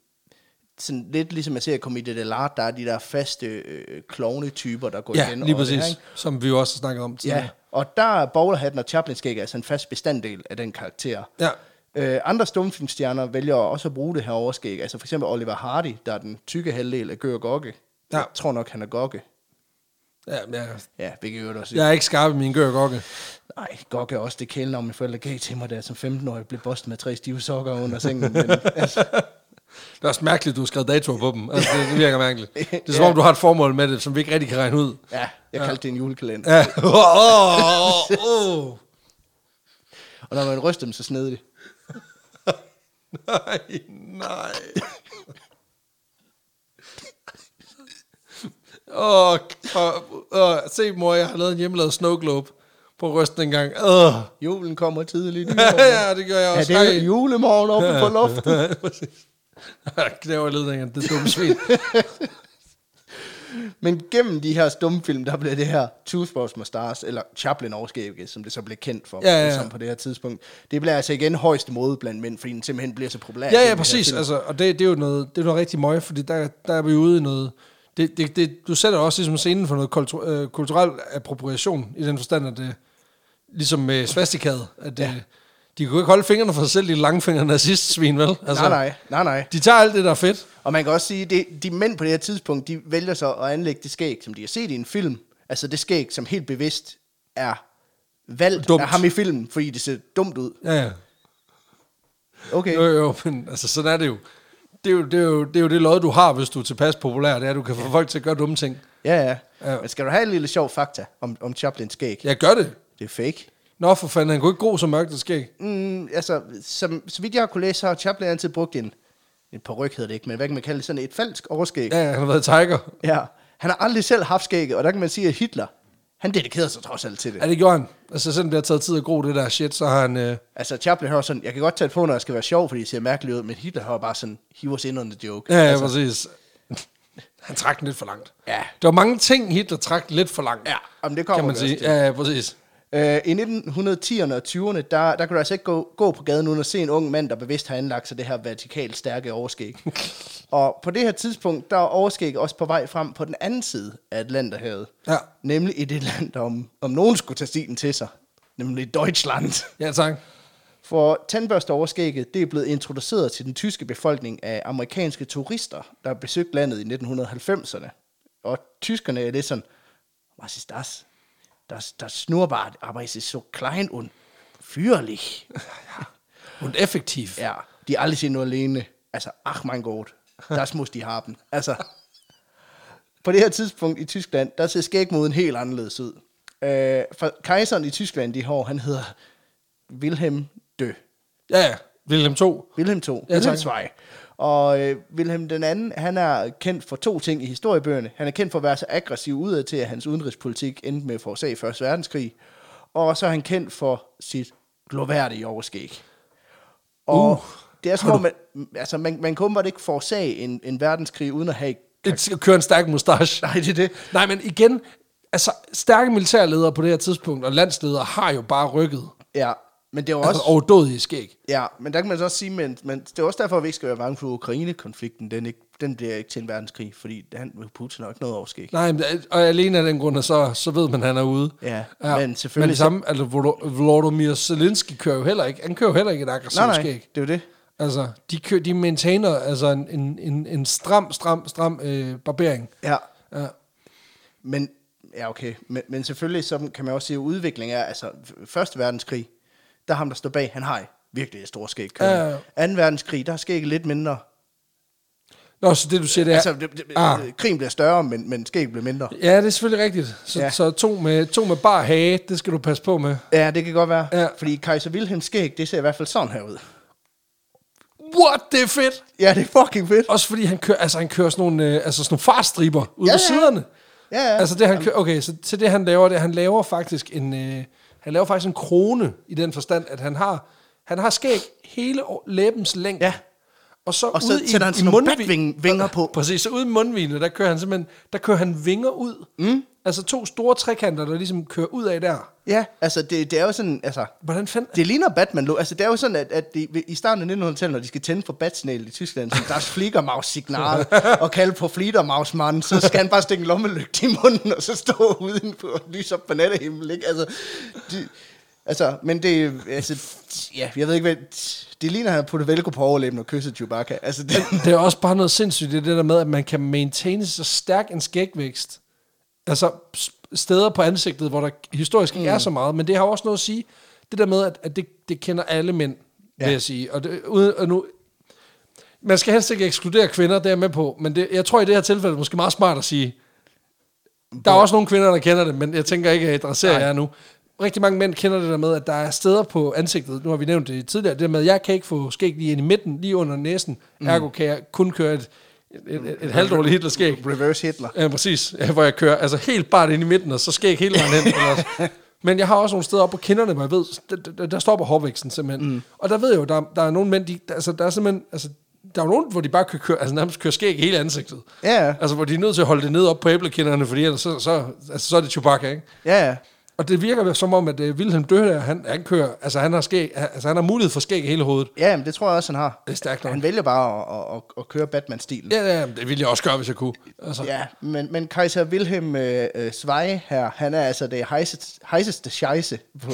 [SPEAKER 2] sådan lidt ligesom man ser i Comité de l'Art, der er de der faste øh, klovne-typer, der går
[SPEAKER 1] Ja,
[SPEAKER 2] igen.
[SPEAKER 1] lige
[SPEAKER 2] over
[SPEAKER 1] præcis.
[SPEAKER 2] Det her, ikke?
[SPEAKER 1] som vi jo også har snakket om tidligere.
[SPEAKER 2] Ja,
[SPEAKER 1] Ja.
[SPEAKER 2] og der er bowlerhatten og Chaplin-skæg altså en fast bestanddel af den karakter.
[SPEAKER 1] Ja.
[SPEAKER 2] Øh, andre stumfilmstjerner vælger også at bruge det her overskæg. Altså for eksempel Oliver Hardy, der er den tykke halvdel af Gør Gokke.
[SPEAKER 1] Ja.
[SPEAKER 2] Jeg tror nok, han er Gokke.
[SPEAKER 1] Ja, men jeg,
[SPEAKER 2] Ja, hvilket jo også...
[SPEAKER 1] jeg er ikke skarp i min gør gokke.
[SPEAKER 2] Nej, Gokke er også det kælenavn, mine forældre gav til mig, da jeg som 15-årig blev bostet med tre stive sokker under sengen. Men, altså,
[SPEAKER 1] Det er også mærkeligt, du har skrevet datoer på dem. Altså, det, det virker mærkeligt. Det er som om, du har et formål med det, som vi ikke rigtig kan regne ud.
[SPEAKER 2] ja, jeg kaldte det en julekalender.
[SPEAKER 1] Ja. Åh, åh, åh.
[SPEAKER 2] Og når man ryster dem, så sned det.
[SPEAKER 1] Nej, nej. Åh, oh, oh, se mor, jeg har lavet en hjemmelavet snow globe på rysten engang. Åh.
[SPEAKER 2] Julen kommer tidligt.
[SPEAKER 1] ja, det gør jeg
[SPEAKER 2] Ja,
[SPEAKER 1] også.
[SPEAKER 2] det
[SPEAKER 1] Hej.
[SPEAKER 2] er julemorgen oppe på loftet.
[SPEAKER 1] Præcis. Knæver ledningen, det dumme svin.
[SPEAKER 2] Men gennem de her stumfilm, der blev det her Toothbrush Mustache, eller Chaplin overskægget, som det så blev kendt for
[SPEAKER 1] Ja, ja, ja.
[SPEAKER 2] Som på det her tidspunkt. Det blev altså igen højeste mode blandt mænd, fordi den simpelthen bliver så populær.
[SPEAKER 1] Ja,
[SPEAKER 2] gennem de
[SPEAKER 1] ja,
[SPEAKER 2] her
[SPEAKER 1] præcis.
[SPEAKER 2] film.
[SPEAKER 1] Altså, og det, det er jo noget, det er noget rigtig møg, fordi der, der er vi ude i noget... Det, det, det, du sætter også ligesom scenen for noget kultur, øh, kulturel appropriation, i den forstand, at det, ligesom med svastikadet, at ja. de kunne ikke holde fingrene for sig selv, de langfingre nazistsvin, vel? Altså,
[SPEAKER 2] Nej, nej, nej, nej.
[SPEAKER 1] De tager alt det, der er fedt.
[SPEAKER 2] Og man kan også sige, at de mænd på det her tidspunkt, de vælger så at anlægge det skæg, som de har set i en film. Altså det skæg, som helt bevidst er valgt
[SPEAKER 1] Dumt.
[SPEAKER 2] dumt. af ham i filmen, fordi det ser dumt ud.
[SPEAKER 1] Ja, ja.
[SPEAKER 2] Okay.
[SPEAKER 1] Jo, jo, men altså, sådan er det jo. Det er jo det, er jo, det, er jo det lod, du har, hvis du er tilpas populær, det er, at du kan få folk til at gøre dumme ting.
[SPEAKER 2] Ja,
[SPEAKER 1] Ja.
[SPEAKER 2] ja. Men skal du have en lille sjov fakta om, om Chaplins skæg? Ja.
[SPEAKER 1] Jeg gør det.
[SPEAKER 2] Det er fake.
[SPEAKER 1] Nå, for fanden, han kunne ikke gro så mørkt, det skæg.
[SPEAKER 2] Mm, altså, som, så vidt jeg har kunne læse, så har Chaplin altid brugt en, en peruk hedder det ikke, men hvad kan man kalde det, sådan et falsk overskæg.
[SPEAKER 1] Ja, ja, han har været tiger.
[SPEAKER 2] ja. Han har aldrig selv haft skægget, og der kan man sige, at Hitler, han dedikerede sig trods alt til det.
[SPEAKER 1] Ja, det gjorde han. Altså, selvom det har taget tid at gro det der shit, så har han... Øh,
[SPEAKER 2] Altså, Chaplin har sådan, jeg kan godt tage det på, når jeg skal være sjov, fordi det ser mærkeligt ud, men Hitler har bare sådan, he was in on the joke.
[SPEAKER 1] ja, ja,
[SPEAKER 2] altså,
[SPEAKER 1] præcis. Han trak den lidt for langt.
[SPEAKER 2] Ja.
[SPEAKER 1] Der var mange ting, Hitler trak lidt for langt.
[SPEAKER 2] ja jamen, det kommer
[SPEAKER 1] kan man
[SPEAKER 2] vi
[SPEAKER 1] sige.
[SPEAKER 2] også til.
[SPEAKER 1] Ja, ja, præcis.
[SPEAKER 2] Øh, I 1910'erne og 20'erne, der, der kunne du altså ikke gå, gå på gaden uden at se en ung mand, der bevidst har anlagt sig det her vertikalt stærke overskæg. og på det her tidspunkt, der er overskæg også på vej frem på den anden side af Atlanterhavet.
[SPEAKER 1] Ja.
[SPEAKER 2] Nemlig i det land, der om, om nogen skulle tage stilen til sig. Nemlig Deutschland.
[SPEAKER 1] Ja, tak.
[SPEAKER 2] For tandbørsteoverskægget, det er blevet introduceret til den tyske befolkning af amerikanske turister, der besøgte landet i 1990'erne. Og tyskerne er lidt sådan, was ist das? Das, das Schnurrbart, aber es ist so klein und fyrlig.
[SPEAKER 1] Und effektiv. Ja.
[SPEAKER 2] Ja, de har aldrig set noget alene. Altså, ach mein Gott, das muss die haben. Altså, på det her tidspunkt i Tyskland, der ser skægmoden helt anderledes ud. Øh, for kejseren i Tyskland i år, han hedder Wilhelm Dø.
[SPEAKER 1] ja, ja. Wilhelm 2.
[SPEAKER 2] Wilhelm 2.
[SPEAKER 1] Ja,
[SPEAKER 2] Ja, Wilhelm
[SPEAKER 1] tak.
[SPEAKER 2] 2. Og øh, Wilhelm den anden, han er kendt for to ting i historiebøgerne. Han er kendt for at være så aggressiv udad til, at hans udenrigspolitik endte med at forårsage 1. verdenskrig. Og så er han kendt for sit gloværdige overskæg. Og
[SPEAKER 1] Uh,
[SPEAKER 2] uh, det er som om, man, altså, man, man kunne bare ikke forårsage en, en verdenskrig uden at have...
[SPEAKER 1] Et, kører en stærk mustache.
[SPEAKER 2] Nej, det er det.
[SPEAKER 1] Nej, men igen, altså, stærke militærledere på det her tidspunkt, og landsledere har jo bare rykket.
[SPEAKER 2] Ja, men det er jo
[SPEAKER 1] Altså,
[SPEAKER 2] også...
[SPEAKER 1] overdådige skæg.
[SPEAKER 2] Ja, men der kan man så også sige, men, men det er også derfor, at vi ikke skal være bange for Ukraine-konflikten. Den, ikke, den bliver ikke til en verdenskrig, fordi han, Putin har ikke noget overskæg.
[SPEAKER 1] Nej, men, og alene af den grund, at så, så ved man, at han er ude.
[SPEAKER 2] Ja, men selvfølgelig-
[SPEAKER 1] Men samme, altså, Volo- Volodymyr Zelensky kører jo heller ikke, han kører jo heller ikke et
[SPEAKER 2] Nej,
[SPEAKER 1] aggressivt
[SPEAKER 2] nej,
[SPEAKER 1] skæg.
[SPEAKER 2] det er jo det.
[SPEAKER 1] Altså, de, kører, de maintainer altså en, en, en, en stram, stram, stram øh, barbering.
[SPEAKER 2] Ja,
[SPEAKER 1] Ja.
[SPEAKER 2] men, ja, okay. Men, men selvfølgelig så kan man også sige, at udvikling er, altså, f- Første verdenskrig, der er ham, der står bag, han har virkelig et stort skæg.
[SPEAKER 1] Ja, ja,
[SPEAKER 2] Ja,
[SPEAKER 1] ja.
[SPEAKER 2] Anden verdenskrig, der er skægget lidt mindre.
[SPEAKER 1] Nå, så det du siger, det
[SPEAKER 2] Ja.
[SPEAKER 1] er...
[SPEAKER 2] Altså, det, det,
[SPEAKER 1] ah.
[SPEAKER 2] ah. krigen bliver større, men, men skægget bliver mindre.
[SPEAKER 1] Ja, det er selvfølgelig rigtigt. Så, ja.
[SPEAKER 2] Ja.
[SPEAKER 1] så to, med, to med bar hage, det skal du passe på med.
[SPEAKER 2] Ja, det kan godt være.
[SPEAKER 1] Ja.
[SPEAKER 2] Ja. Fordi kejser Wilhelms skæg, det ser i hvert fald sådan her ud.
[SPEAKER 1] What, det er fedt!
[SPEAKER 2] Ja, det er fucking fedt.
[SPEAKER 1] Også fordi han kører, altså han kører sådan nogle, øh, altså sådan nogle fartstriber ud ja,
[SPEAKER 2] Ja,
[SPEAKER 1] på
[SPEAKER 2] ja.
[SPEAKER 1] siderne.
[SPEAKER 2] Ja, ja.
[SPEAKER 1] Altså det han kører, okay, så til det han laver, det er, han laver faktisk en, øh, han laver faktisk en krone i den forstand, at han har, han har skæg hele år- læbens længde.
[SPEAKER 2] Ja.
[SPEAKER 1] Og så,
[SPEAKER 2] Og så
[SPEAKER 1] ud
[SPEAKER 2] sætter
[SPEAKER 1] i, i
[SPEAKER 2] han sådan nogle
[SPEAKER 1] mundvi-
[SPEAKER 2] batvinger på.
[SPEAKER 1] Præcis, så ude i mundvinen, der kører han simpelthen, der kører han vinger ud. Mm. Altså to store trekanter, der ligesom kører ud af der.
[SPEAKER 2] Ja, altså, det, det er jo sådan, altså,
[SPEAKER 1] Hvordan fanden?
[SPEAKER 2] Det ligner batman -logo. Altså, det er jo sådan, at, at de, i starten af 1900-tallet, når de skal tænde for batsignal i Tyskland, som deres fliegermaus signal og kalde på fliegermaus mand, så skal han bare stikke en lommelygte i munden, og så stå udenfor og lyse op på nattehimlen, ikke? Altså, de, altså, men det, altså, ja, jeg ved ikke hvad, det ligner, at han har puttet velko på overlæben og kysset Chewbacca. Altså, det,
[SPEAKER 1] Det er også bare noget sindssygt, det er det der med, at man kan maintaine så stærk en skægvækst. Altså s- steder på ansigtet, hvor der historisk ikke mm. er så meget, men det har jo også noget at sige. Det der med, at, at det, det kender alle mænd, ja.
[SPEAKER 2] Ja.
[SPEAKER 1] vil jeg sige. Og, det, uden, og nu, man skal helst ikke ekskludere kvinder, det er jeg med på, men det, jeg tror i det her tilfælde er det måske meget smart at sige, der er også nogle kvinder, der kender det, men jeg tænker ikke, at jeg adresserer jer nu. Rigtig mange mænd kender det der med, at der er steder på ansigtet, nu har vi nævnt det tidligere, det der med, at jeg kan ikke få skæg lige ind i midten, lige under næsen, mm. ergo kan jeg kun køre et, et, et, et halvdårligt Hitler-skæg.
[SPEAKER 2] reverse Hitler.
[SPEAKER 1] Ja, præcis, ja, hvor jeg kører altså helt bare ind i midten, og så skæg hele vejen hen. Eller, men jeg har også nogle steder oppe på kinderne, hvor jeg ved, der, der, der stopper hårvæksten simpelthen. Mm. Og der ved jeg jo, der, der er nogle mænd, de, der, altså, der er simpelthen, altså, der er jo nogen, hvor de bare kan køre, altså nærmest kører skæg i hele ansigtet.
[SPEAKER 2] Ja, ja.
[SPEAKER 1] Altså, hvor de er nødt til at holde det ned op på æblekinderne, fordi ellers så, så, altså, så er det Chewbacca, ikke?
[SPEAKER 2] ja, ja.
[SPEAKER 1] Og det virker som om, at uh, Wilhelm Døhler, han, han kører, altså han har, skæg, altså, han har mulighed for skæg i hele hovedet.
[SPEAKER 2] Ja, men det tror jeg også, han har.
[SPEAKER 1] Det er stærkt nok.
[SPEAKER 2] Han vælger bare at, at, at, at køre Batman-stilen.
[SPEAKER 1] Ja, ja, det ville jeg også gøre, hvis jeg kunne. Altså,
[SPEAKER 2] Ja, men, men kejser Wilhelm øh, øh, Zweig her, han er altså det heisest- heiseste scheisse på,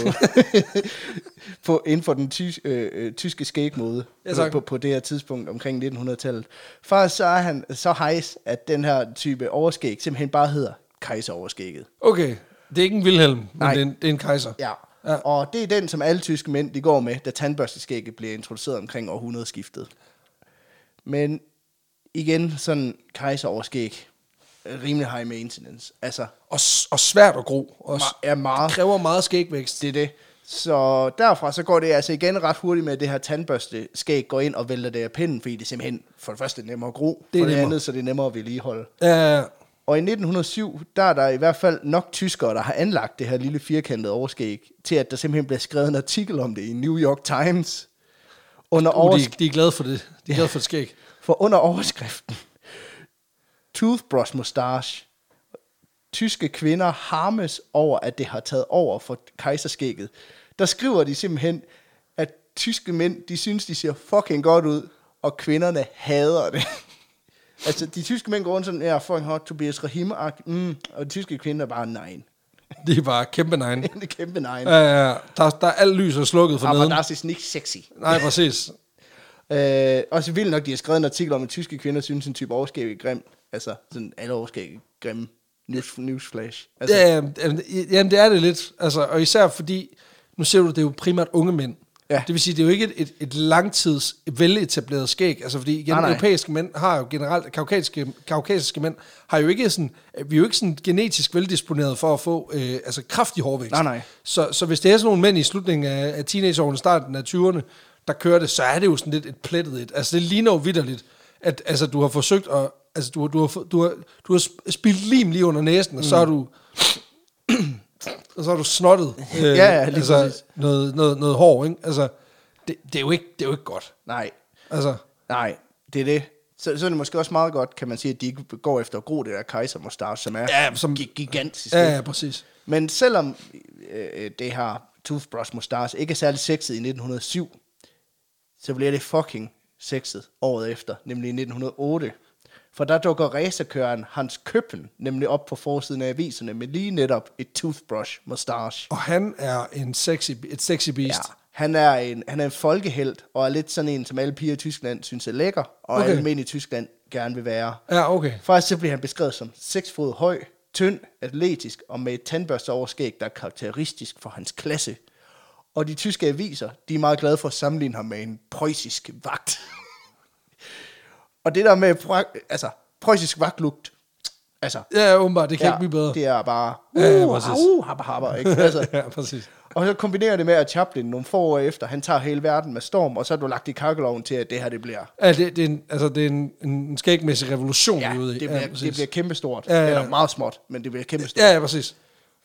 [SPEAKER 2] på, inden for den ty, øh, øh, tyske skægmode
[SPEAKER 1] Ja,
[SPEAKER 2] ja,
[SPEAKER 1] tak.
[SPEAKER 2] på, på det her tidspunkt omkring 1900-tallet. Faktisk så er han så hejs, at den her type overskæg simpelthen bare hedder kejseroverskægget.
[SPEAKER 1] Okay, det er ikke en Wilhelm, men det
[SPEAKER 2] Nej.
[SPEAKER 1] er en, det er en kejser.
[SPEAKER 2] Ja.
[SPEAKER 1] Ja.
[SPEAKER 2] ja, og det er den, som alle tyske mænd de går med, da tandbørsteskægget bliver introduceret omkring århundredeskiftet. Men igen, sådan kejseroverskæg, øh, rimelig high maintenance. Altså,
[SPEAKER 1] Og, s- og svært at gro også.
[SPEAKER 2] er meget
[SPEAKER 1] Det kræver meget skægvækst.
[SPEAKER 2] Det er det. Så derfra så går det altså igen ret hurtigt med, at det her tandbørste skæg går ind og vælter det af pinden, fordi det er simpelthen for det første nemmere at gro,
[SPEAKER 1] Det
[SPEAKER 2] det
[SPEAKER 1] er
[SPEAKER 2] for det
[SPEAKER 1] nemmere.
[SPEAKER 2] andet så det er nemmere at vedligeholde.
[SPEAKER 1] Ja, Uh,
[SPEAKER 2] Og i 1907, der er der i hvert fald nok tyskere, der har anlagt det her lille firkantede overskæg, til at der simpelthen bliver skrevet en artikel om det i New York Times. Under
[SPEAKER 1] uh,
[SPEAKER 2] oversk-
[SPEAKER 1] de, de er glade for det. De er glade for det skæg.
[SPEAKER 2] for under overskriften, Toothbrush Mustache, tyske kvinder harmes over, at det har taget over for kejserskægget. Der skriver de simpelthen, at tyske mænd, de synes, de ser fucking godt ud, og kvinderne hader det. altså, de tyske mænd går rundt sådan, ja, fucking hot, Tobias Rahim, mm, og de tyske kvinder er bare, nej,
[SPEAKER 1] De er bare kæmpe nejen.
[SPEAKER 2] det er kæmpe nej.
[SPEAKER 1] Ja, ja, ja. der, der er alt lys er slukket for
[SPEAKER 2] Aber
[SPEAKER 1] neden.
[SPEAKER 2] das ist nicht sexy.
[SPEAKER 1] Nej, præcis.
[SPEAKER 2] Øh, og så vildt nok, de har skrevet en artikel om, at tyske kvinder synes, en type overskæg er grim. Altså, sådan alle overskæg er grimme. News, newsflash. Altså,
[SPEAKER 1] Ja, jamen, det- jamen, det er det lidt. Altså, og især fordi, nu ser du, det er jo primært unge mænd.
[SPEAKER 2] Ja.
[SPEAKER 1] Det vil sige, det er jo ikke et, et, et langtids veletableret skæg. Altså, fordi igen,
[SPEAKER 2] Nej, nej.
[SPEAKER 1] europæiske mænd har jo generelt, kaukasiske, kaukasiske mænd, har jo ikke sådan, vi er jo ikke sådan genetisk veldisponeret for at få øh, altså kraftig hårvækst.
[SPEAKER 2] Nej, nej.
[SPEAKER 1] Så, så hvis det er sådan nogle mænd i slutningen af, af teenageårene, starten af 20'erne, der kører det, så er det jo sådan lidt et plettet et. Altså, det ligner jo vidderligt, at altså, du har forsøgt at... Altså, du, har- du, har, få- du, har, du har sp- spildt lim lige under næsen,
[SPEAKER 2] Mm.
[SPEAKER 1] og så har du... og så har du snottet øh,
[SPEAKER 2] Ja, ja, lige
[SPEAKER 1] altså,
[SPEAKER 2] præcis.
[SPEAKER 1] noget, noget, noget hår, ikke? Altså, det, det, er jo ikke, det er jo ikke godt.
[SPEAKER 2] nej,
[SPEAKER 1] Altså,
[SPEAKER 2] nej, det er det. Så, så er det måske også meget godt, kan man sige, at de ikke går efter at gro det der kejsermustache, som er
[SPEAKER 1] Ja, som-
[SPEAKER 2] gi- gigantisk.
[SPEAKER 1] ja, ja, præcis.
[SPEAKER 2] Men selvom øh, det her toothbrush mustache ikke er særlig sexet i 1907, så bliver det fucking sexet året efter, nemlig i 1908. For der dukker racerkøreren Hans Køppen nemlig op på forsiden af aviserne med lige netop et toothbrush mustache.
[SPEAKER 1] Og han er en sexy, et sexy beast.
[SPEAKER 2] Ja, han er, en, han er en folkehelt, og er lidt sådan en, som alle piger i Tyskland synes er lækker, og
[SPEAKER 1] Okay.
[SPEAKER 2] okay. alle mænd i Tyskland gerne vil være.
[SPEAKER 1] Ja, ja okay.
[SPEAKER 2] Faktisk så bliver han beskrevet som 6 fod høj, tynd, atletisk og med et tandbørsteoverskæg, der er karakteristisk for hans klasse. Og de tyske aviser, de er meget glade for at sammenligne ham med en preussisk vagt. og det der med, preu- altså, preussisk vagtlugt, altså,
[SPEAKER 1] Ja, åbenbart, det kan ja, ikke blive bedre.
[SPEAKER 2] det er bare, uh,
[SPEAKER 1] Ja, ja,
[SPEAKER 2] ja,
[SPEAKER 1] præcis.
[SPEAKER 2] uh, habba, habba, ikke? Altså,
[SPEAKER 1] ja, præcis.
[SPEAKER 2] og så kombinerer det med, at Chaplin nogle få år efter, han tager hele verden med storm, og så er du lagt i kakkeloven til, at det her, det bliver
[SPEAKER 1] Ja, det, det er en, altså, det er en, en skægmæssig revolution,
[SPEAKER 2] Ja,
[SPEAKER 1] vi er ude i.
[SPEAKER 2] det bliver,
[SPEAKER 1] ja,
[SPEAKER 2] ja, det
[SPEAKER 1] præcis.
[SPEAKER 2] bliver kæmpestort.
[SPEAKER 1] Ja,
[SPEAKER 2] Ja,
[SPEAKER 1] ja,
[SPEAKER 2] ja.
[SPEAKER 1] ja.
[SPEAKER 2] Eller meget småt, men det bliver kæmpestort. Ja.
[SPEAKER 1] Ja, ja, præcis.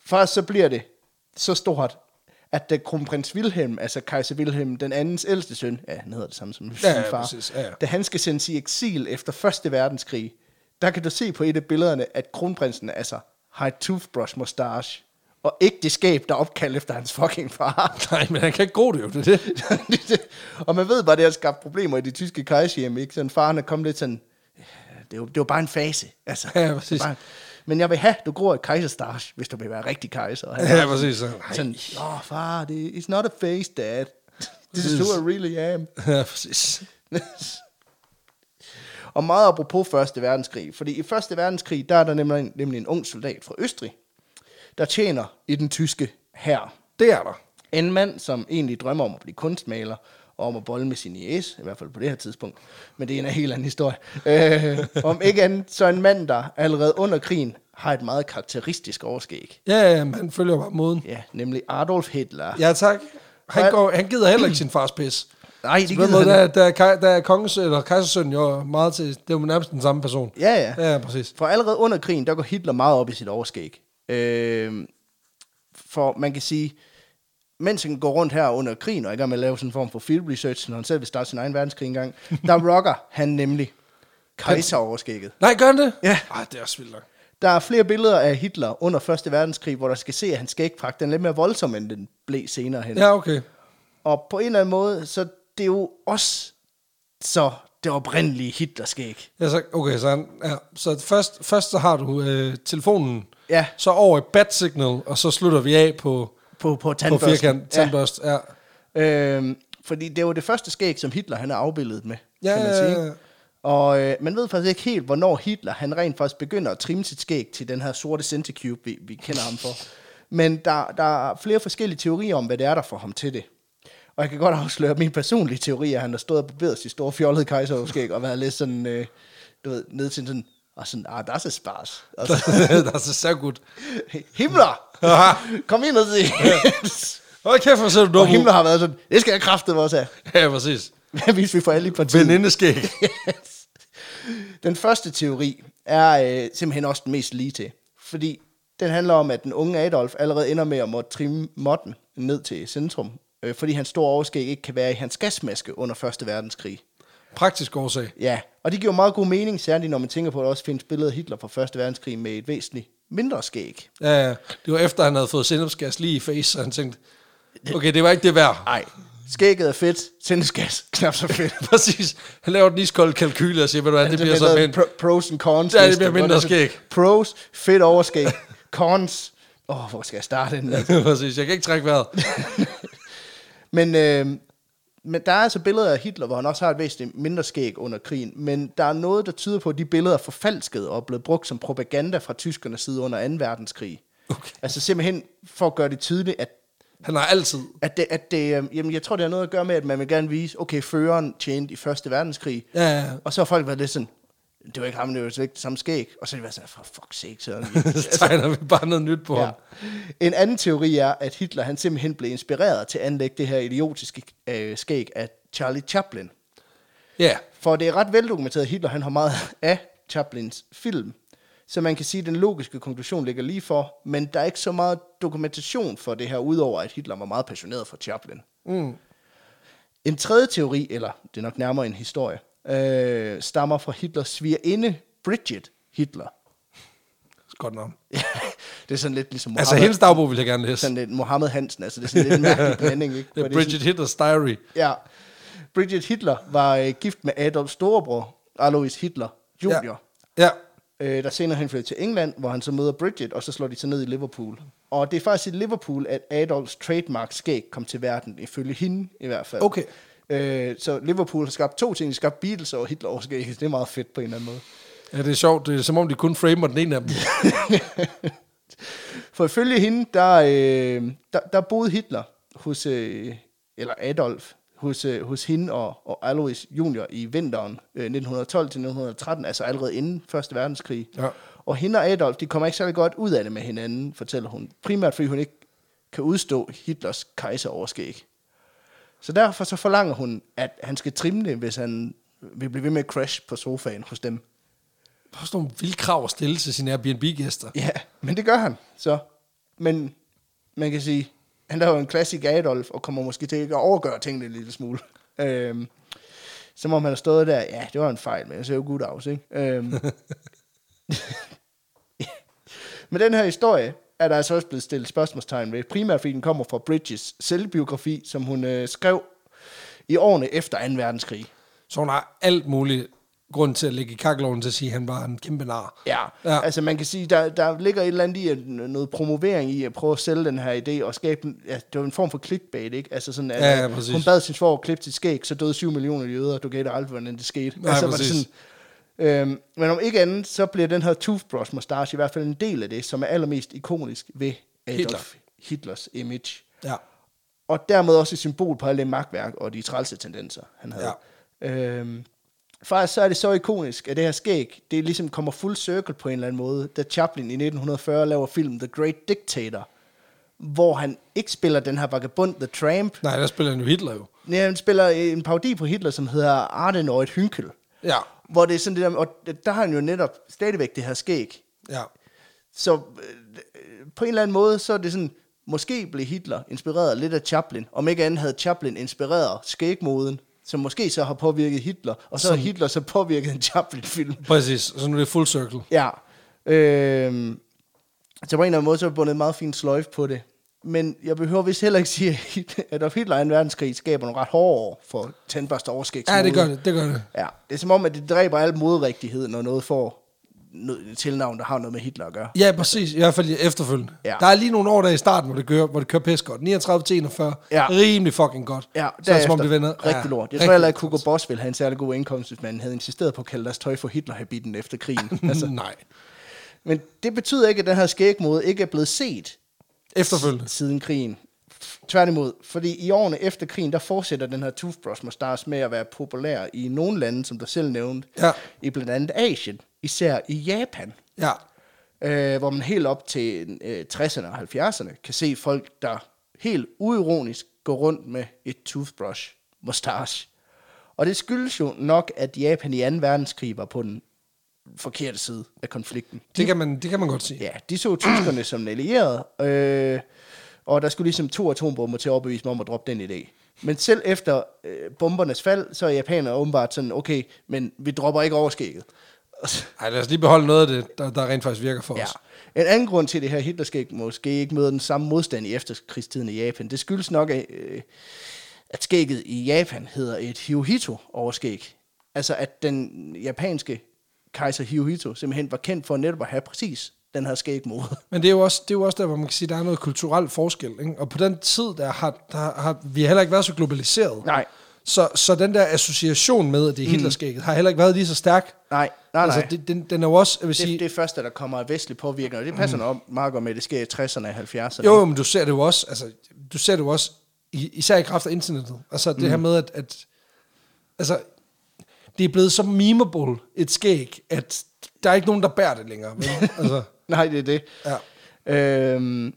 [SPEAKER 2] Først så bliver det så stort, at da kronprins Wilhelm, altså kejser Wilhelm, den andens ældste søn, ja, han hedder det samme som
[SPEAKER 1] Ja,
[SPEAKER 2] ja,
[SPEAKER 1] ja,
[SPEAKER 2] sin far,
[SPEAKER 1] præcis, ja, ja.
[SPEAKER 2] da han skal sendes i eksil efter Første Verdenskrig, der kan du se på et af billederne, at kronprinsen altså har et toothbrush mustache, og ikke det skab, der er opkaldt efter hans fucking far.
[SPEAKER 1] Nej, men han kan ikke gro det jo, det er det.
[SPEAKER 2] og man ved bare, at det har skabt problemer i de tyske kejserhjem, ikke? Sådan faren er kommet lidt sådan, det var, det var bare en fase. Altså,
[SPEAKER 1] Ja, præcis.
[SPEAKER 2] det var Bare, men jeg vil have, du gror et kejserstarsj, hvis du vil være rigtig kejser. Og han
[SPEAKER 1] Ja,
[SPEAKER 2] var
[SPEAKER 1] præcis. Så, nej.
[SPEAKER 2] Sådan, åh oh, far, det, it's not a face, dad. This is
[SPEAKER 1] Præcis.
[SPEAKER 2] who I really am.
[SPEAKER 1] Ja, præcis.
[SPEAKER 2] og meget apropos Første Verdenskrig, fordi i Første Verdenskrig, der er der nemlig en, nemlig en ung soldat fra Østrig, der tjener i den tyske hær.
[SPEAKER 1] Det er der.
[SPEAKER 2] En mand, som egentlig drømmer om at blive kunstmaler, og om at bolle med sin jæs, i hvert fald på det her tidspunkt. Men det er en helt anden historie. Øh, om ikke andet, så en mand, der allerede under krigen har et meget karakteristisk overskæg.
[SPEAKER 1] Ja, ja, men han følger bare moden.
[SPEAKER 2] Ja, nemlig Adolf Hitler.
[SPEAKER 1] Ja, tak. Han,
[SPEAKER 2] Hvad-
[SPEAKER 1] går, han gider heller ikke sin fars pis.
[SPEAKER 2] Nej,
[SPEAKER 1] Så
[SPEAKER 2] det
[SPEAKER 1] på den
[SPEAKER 2] gider
[SPEAKER 1] måde,
[SPEAKER 2] han
[SPEAKER 1] der, er- der, er kaj- der er kongens, eller kejsersøn jo meget til, det er jo nærmest den samme person.
[SPEAKER 2] Ja, ja.
[SPEAKER 1] Ja, præcis.
[SPEAKER 2] For allerede under krigen, der Øhm, går Hitler meget op i sit overskæg. Øh, for man kan sige, mens han går rundt her under krigen og er i gang med at lave sådan en form for field research, når han selv vil starte sin egen verdenskrig engang, der rocker han nemlig kejseroverskægget.
[SPEAKER 1] Nej, gør han det?
[SPEAKER 2] Ja.
[SPEAKER 1] Ej, det er også vildt nok.
[SPEAKER 2] Der er flere billeder af Hitler under 1. verdenskrig, hvor der skal se, at hans skægpragt den er lidt mere voldsom, end den blev senere hen.
[SPEAKER 1] Ja, okay.
[SPEAKER 2] Og på en eller anden måde, så det er jo også så det oprindelige Hitlerskæg.
[SPEAKER 1] Ja, så, okay, så, han, ja, så først, først så har du øh, telefonen,
[SPEAKER 2] Ja.
[SPEAKER 1] så over i bat signal, og så slutter vi af på,
[SPEAKER 2] På, på
[SPEAKER 1] på
[SPEAKER 2] tandbørsten.
[SPEAKER 1] firkant, tandbørst. Ja.
[SPEAKER 2] Ja. Øhm, fordi det var det første skæg, som Hitler han er afbildet med,
[SPEAKER 1] Ja,
[SPEAKER 2] kan man
[SPEAKER 1] ja,
[SPEAKER 2] sige.
[SPEAKER 1] ja, ja.
[SPEAKER 2] Og øh, man ved faktisk ikke helt, hvornår Hitler han rent faktisk begynder at trimme sit skæg til den her sorte centicube, vi, vi kender ham for. Men der, der er flere forskellige teorier om, hvad det er, der får ham til det. Og jeg kan godt afsløre min personlige teori, er, at han har stået og barberet sit store fjollede kejserskæg og været lidt sådan, øh, du ved, ned til sådan, og sådan, ah, der er så spars. Og så,
[SPEAKER 1] der er så så godt.
[SPEAKER 2] Altså, Himmler!
[SPEAKER 1] Aha.
[SPEAKER 2] Kom ind og se.
[SPEAKER 1] Hold kæft, hvor ser du
[SPEAKER 2] og
[SPEAKER 1] dum ud.
[SPEAKER 2] Himmler har været sådan, det skal jeg kraftedeme også have.
[SPEAKER 1] Ja, præcis.
[SPEAKER 2] Hvad hvis vi får alle i partiet?
[SPEAKER 1] Venindeskæg.
[SPEAKER 2] Yes. Den første teori er øh, simpelthen også den mest lige til, fordi den handler om, at den unge Adolf allerede ender med at måtte trimme modden ned til centrum, øh, fordi hans store overskæg ikke kan være i hans gasmaske under Første verdenskrig.
[SPEAKER 1] Praktisk årsag.
[SPEAKER 2] Ja, og det giver meget god mening, særligt når man tænker på, at der også findes billeder af Hitler fra Første verdenskrig med et væsentligt mindre skæg.
[SPEAKER 1] Ja, ja. det var efter, han havde fået sindopsgas lige i face, så han tænkte, okay, det var ikke det værd.
[SPEAKER 2] Nej, skægget er fedt, tændesgas, knap så fedt.
[SPEAKER 1] Præcis. Han laver den iskold kalkyle og siger, ved du hvad, det bliver så
[SPEAKER 2] noget
[SPEAKER 1] pænt.
[SPEAKER 2] pro- pros and cons.
[SPEAKER 1] Ja, det
[SPEAKER 2] liste,
[SPEAKER 1] bliver
[SPEAKER 2] hvor
[SPEAKER 1] mindre
[SPEAKER 2] der er sådan,
[SPEAKER 1] skæg.
[SPEAKER 2] Pros, fedt overskæg. cons. Åh, oh, hvor skal jeg starte den?
[SPEAKER 1] Præcis, jeg kan ikke trække vejret.
[SPEAKER 2] Men, øh, men der er altså billeder af Hitler, hvor han også har et væsentligt mindre skæg under krigen, men der er noget, der tyder på, at de billeder er forfalsket og er blevet brugt som propaganda fra tyskernes side under 2. verdenskrig.
[SPEAKER 1] Okay.
[SPEAKER 2] Altså simpelthen for at gøre det tydeligt, at
[SPEAKER 1] Han har altid.
[SPEAKER 2] at det, at det, øh, jamen jeg tror, det har noget at gøre med, at man vil gerne vise, okay, føreren tjente i Første verdenskrig,
[SPEAKER 1] Ja, ja, ja.
[SPEAKER 2] og så har folk været lidt sådan, det var ikke ham, det var slet ikke det samme skæg, og så er de været sådan, for fuck's sake, Søren.
[SPEAKER 1] Så tegner vi bare noget nyt på ja.
[SPEAKER 2] Ja.
[SPEAKER 1] ham.
[SPEAKER 2] En anden teori er, at Hitler han simpelthen blev inspireret til at anlægge det her idiotiske øh, skæg af Charlie Chaplin.
[SPEAKER 1] Ja,
[SPEAKER 2] For det er ret veldokumenteret, at Hitler han har meget af Chaplins film. Så man kan sige, at den logiske konklusion ligger lige for, men der er ikke så meget dokumentation for det her, udover at Hitler var meget passioneret for Chaplin.
[SPEAKER 1] mm.
[SPEAKER 2] En tredje teori, eller det er nok nærmere en historie, øh, stammer fra Hitlers svigerinde, Bridget Hitler.
[SPEAKER 1] godt navn.
[SPEAKER 2] det er sådan lidt ligesom Mohammed,
[SPEAKER 1] Altså, hendes dagbog vil jeg gerne læse.
[SPEAKER 2] sådan lidt Mohammed Hansen, altså det er sådan lidt en mærkelig blanding. Ikke?
[SPEAKER 1] Det
[SPEAKER 2] Hvor
[SPEAKER 1] er
[SPEAKER 2] sådan-
[SPEAKER 1] Bridget Hitters diary.
[SPEAKER 2] Ja. Bridget Hitler var øh, gift med Adolfs storebror, Alois Hitler Jr.,
[SPEAKER 1] Ja. ja.
[SPEAKER 2] ja. øh, der senere han flyttede til England, hvor han så møder Bridget, og så slår de sig ned i Liverpool. Og det er faktisk i Liverpool, at Adolfs trademark skæg kom til verden, ifølge hende i hvert fald.
[SPEAKER 1] Okay.
[SPEAKER 2] Øh, så Liverpool har skabt to ting. De har skabt Beatles og Hitler over skægget. Det er meget fedt på en eller anden måde.
[SPEAKER 1] Ja, det er sjovt. Det er som om, de kun framer den ene af dem.
[SPEAKER 2] For ifølge hende, der, øh, der, der boede Hitler hos, øh, eller Adolf, hos, øh, hos hende og, og Alois junior i vinteren øh, 1912-1913, altså allerede inden Første Verdenskrig.
[SPEAKER 1] Ja.
[SPEAKER 2] Og hende og Adolf, de kommer ikke særlig godt ud af det med hinanden, fortæller hun. Primært fordi hun ikke kan udstå Hitlers kejseroverskæg. Så derfor så forlanger hun, at han skal trimme det, hvis han vil blive ved med at crash på sofaen hos dem.
[SPEAKER 1] Der er sådan nogle vilde krav at stille til sine Airbnb-gæster.
[SPEAKER 2] Ja, men det gør han så. Men man kan sige, han er jo en klassik Adolf, og kommer måske til ikke at overgøre tingene en lille smule. Øhm, som om han har stået der, ja, det var en fejl, men jeg ser jo godt af, ikke? Øhm. men den her historie er der altså også blevet stillet spørgsmålstegn ved, primært fordi den kommer fra Bridges selvbiografi, som hun øh, skrev i årene efter 2. verdenskrig.
[SPEAKER 1] Så hun har alt muligt grund til at ligge i kakkeloven til at sige, at han var en kæmpe nar.
[SPEAKER 2] Ja,
[SPEAKER 1] Ja.
[SPEAKER 2] ja. altså man kan sige, der, der ligger et eller andet i at, noget promovering i at prøve at sælge den her idé og skabe den, ja, det var en form for clickbait, ikke? Altså sådan, at
[SPEAKER 1] Ja, ja,
[SPEAKER 2] øh,
[SPEAKER 1] præcis.
[SPEAKER 2] hun bad sin svår at klippe sit skæg, så døde 7 millioner jøder, og du gav dig aldrig, hvordan det skete.
[SPEAKER 1] Nej,
[SPEAKER 2] altså,
[SPEAKER 1] præcis.
[SPEAKER 2] sådan, øhm, men om ikke andet, så bliver den her toothbrush mustache i hvert fald en del af det, som er allermest ikonisk ved Adolf
[SPEAKER 1] Hitler.
[SPEAKER 2] Hitler. Hitlers image.
[SPEAKER 1] Ja.
[SPEAKER 2] Og dermed også et symbol på alle det magtværk og de trælse tendenser, han havde. Ja. Øhm, faktisk så er det så ikonisk, at det her skæg, det ligesom kommer full circle på en eller anden måde, da Chaplin i 1940 laver filmen The Great Dictator, hvor han ikke spiller den her vagabond, The Tramp.
[SPEAKER 1] Nej, der spiller han jo Hitler jo.
[SPEAKER 2] Nej, han spiller en parodi på Hitler, som hedder Ardenoid Hynkel.
[SPEAKER 1] Ja.
[SPEAKER 2] Hvor det er sådan det der, og der har han jo netop stadigvæk det her skæg,
[SPEAKER 1] Ja.
[SPEAKER 2] så øh, øh, på en eller anden måde, så er det sådan, Måske blev Hitler inspireret lidt af Chaplin. Om ikke andet havde Chaplin inspireret skægmoden, som måske så har påvirket Hitler. Og så har
[SPEAKER 1] Som-
[SPEAKER 2] Hitler så påvirket en Chaplin-film.
[SPEAKER 1] Præcis, så nu er det full circle.
[SPEAKER 2] Ja. Øhm, så på en eller anden måde, så har jeg bundet en meget fin sløjf på det. Men jeg behøver vist heller ikke sige, at Adolf Hitler i en verdenskrig skaber nogle ret hårde år for tandbørste overskæg.
[SPEAKER 1] Ja, det gør det, det gør det.
[SPEAKER 2] Ja, det er som om, at det dræber al modrigtighed, når noget får noget- et tilnavn, der har noget med Hitler at gøre.
[SPEAKER 1] Ja, præcis. I hvert fald efterfølgende.
[SPEAKER 2] Ja.
[SPEAKER 1] Ja. Der er lige nogle år der i starten, hvor det kører, hvor det kører pisse godt. 39 til 41.
[SPEAKER 2] Ja.
[SPEAKER 1] Ja. Rimelig fucking godt.
[SPEAKER 2] Ja,
[SPEAKER 1] så er det som om det vender.
[SPEAKER 2] Rigtig lort. Jeg tror heller ikke, Hugo Boss ville have en særlig god indkomst, hvis man havde insisteret på at kalde deres tøj for Hitler-habitten efter krigen.
[SPEAKER 1] Altså. Nej.
[SPEAKER 2] Men det betyder ikke, at den her skægmode ikke er blevet set
[SPEAKER 1] Efterfølgende.
[SPEAKER 2] siden krigen. Tværtimod, fordi i årene efter krigen, der fortsætter den her toothbrush mustache med at være populær i nogle lande, som du selv nævnte,
[SPEAKER 1] Ja.
[SPEAKER 2] i blandt andet Asien, især i Japan,
[SPEAKER 1] Ja.
[SPEAKER 2] øh, hvor man helt op til øh, 60'erne og 70'erne kan se folk, der helt uironisk går rundt med et toothbrush mustache. Og det skyldes jo nok, at Japan i 2. verdenskrig var på den forkerte side af konflikten.
[SPEAKER 1] Det kan man, det kan man godt sige.
[SPEAKER 2] Ja, de så tyskerne som en allieret, øh, og der skulle ligesom to atombomber til at overbevise mig om at droppe den idé. Men selv efter øh, bombernes fald, så er japanerne åbenbart sådan, okay, men vi dropper ikke overskægget.
[SPEAKER 1] Ej, lad os lige beholde noget af det, der, der rent faktisk virker for ja.
[SPEAKER 2] Ja.
[SPEAKER 1] os.
[SPEAKER 2] En anden grund til at det her Hitlerskæg måske ikke møder den samme modstand i efterkrigstiden i Japan, det skyldes nok, at, øh, at skægget i Japan hedder et Hirohito-overskæg. Altså at den japanske kejser Hirohito simpelthen var kendt for netop at have præcis den her skægmode.
[SPEAKER 1] Men det er, jo også, det er jo også der, hvor man kan sige, at der er noget kulturel forskel. Ikke? Og på den tid, der har, der har vi har heller ikke været så globaliseret.
[SPEAKER 2] Nej.
[SPEAKER 1] Så, så den der association med, at det er Hitlerskægget, har heller ikke været lige så stærk.
[SPEAKER 2] Nej, nej, nej.
[SPEAKER 1] Altså, det, den, den er jo også, jeg vil sige...
[SPEAKER 2] det, det første, der kommer af vestlig påvirkning, og det passer mm. nok meget godt med, at det sker i 60'erne og 70'erne.
[SPEAKER 1] Jo, jo, men du ser det jo også, altså, du ser det jo også, i- især i kraft af internettet. Altså det mm. her med, at, at altså, det er blevet så memeable et skæg, at der er ikke nogen, der bærer det længere. Men, altså,
[SPEAKER 2] Nej, det er det.
[SPEAKER 1] Ja.
[SPEAKER 2] Øhm,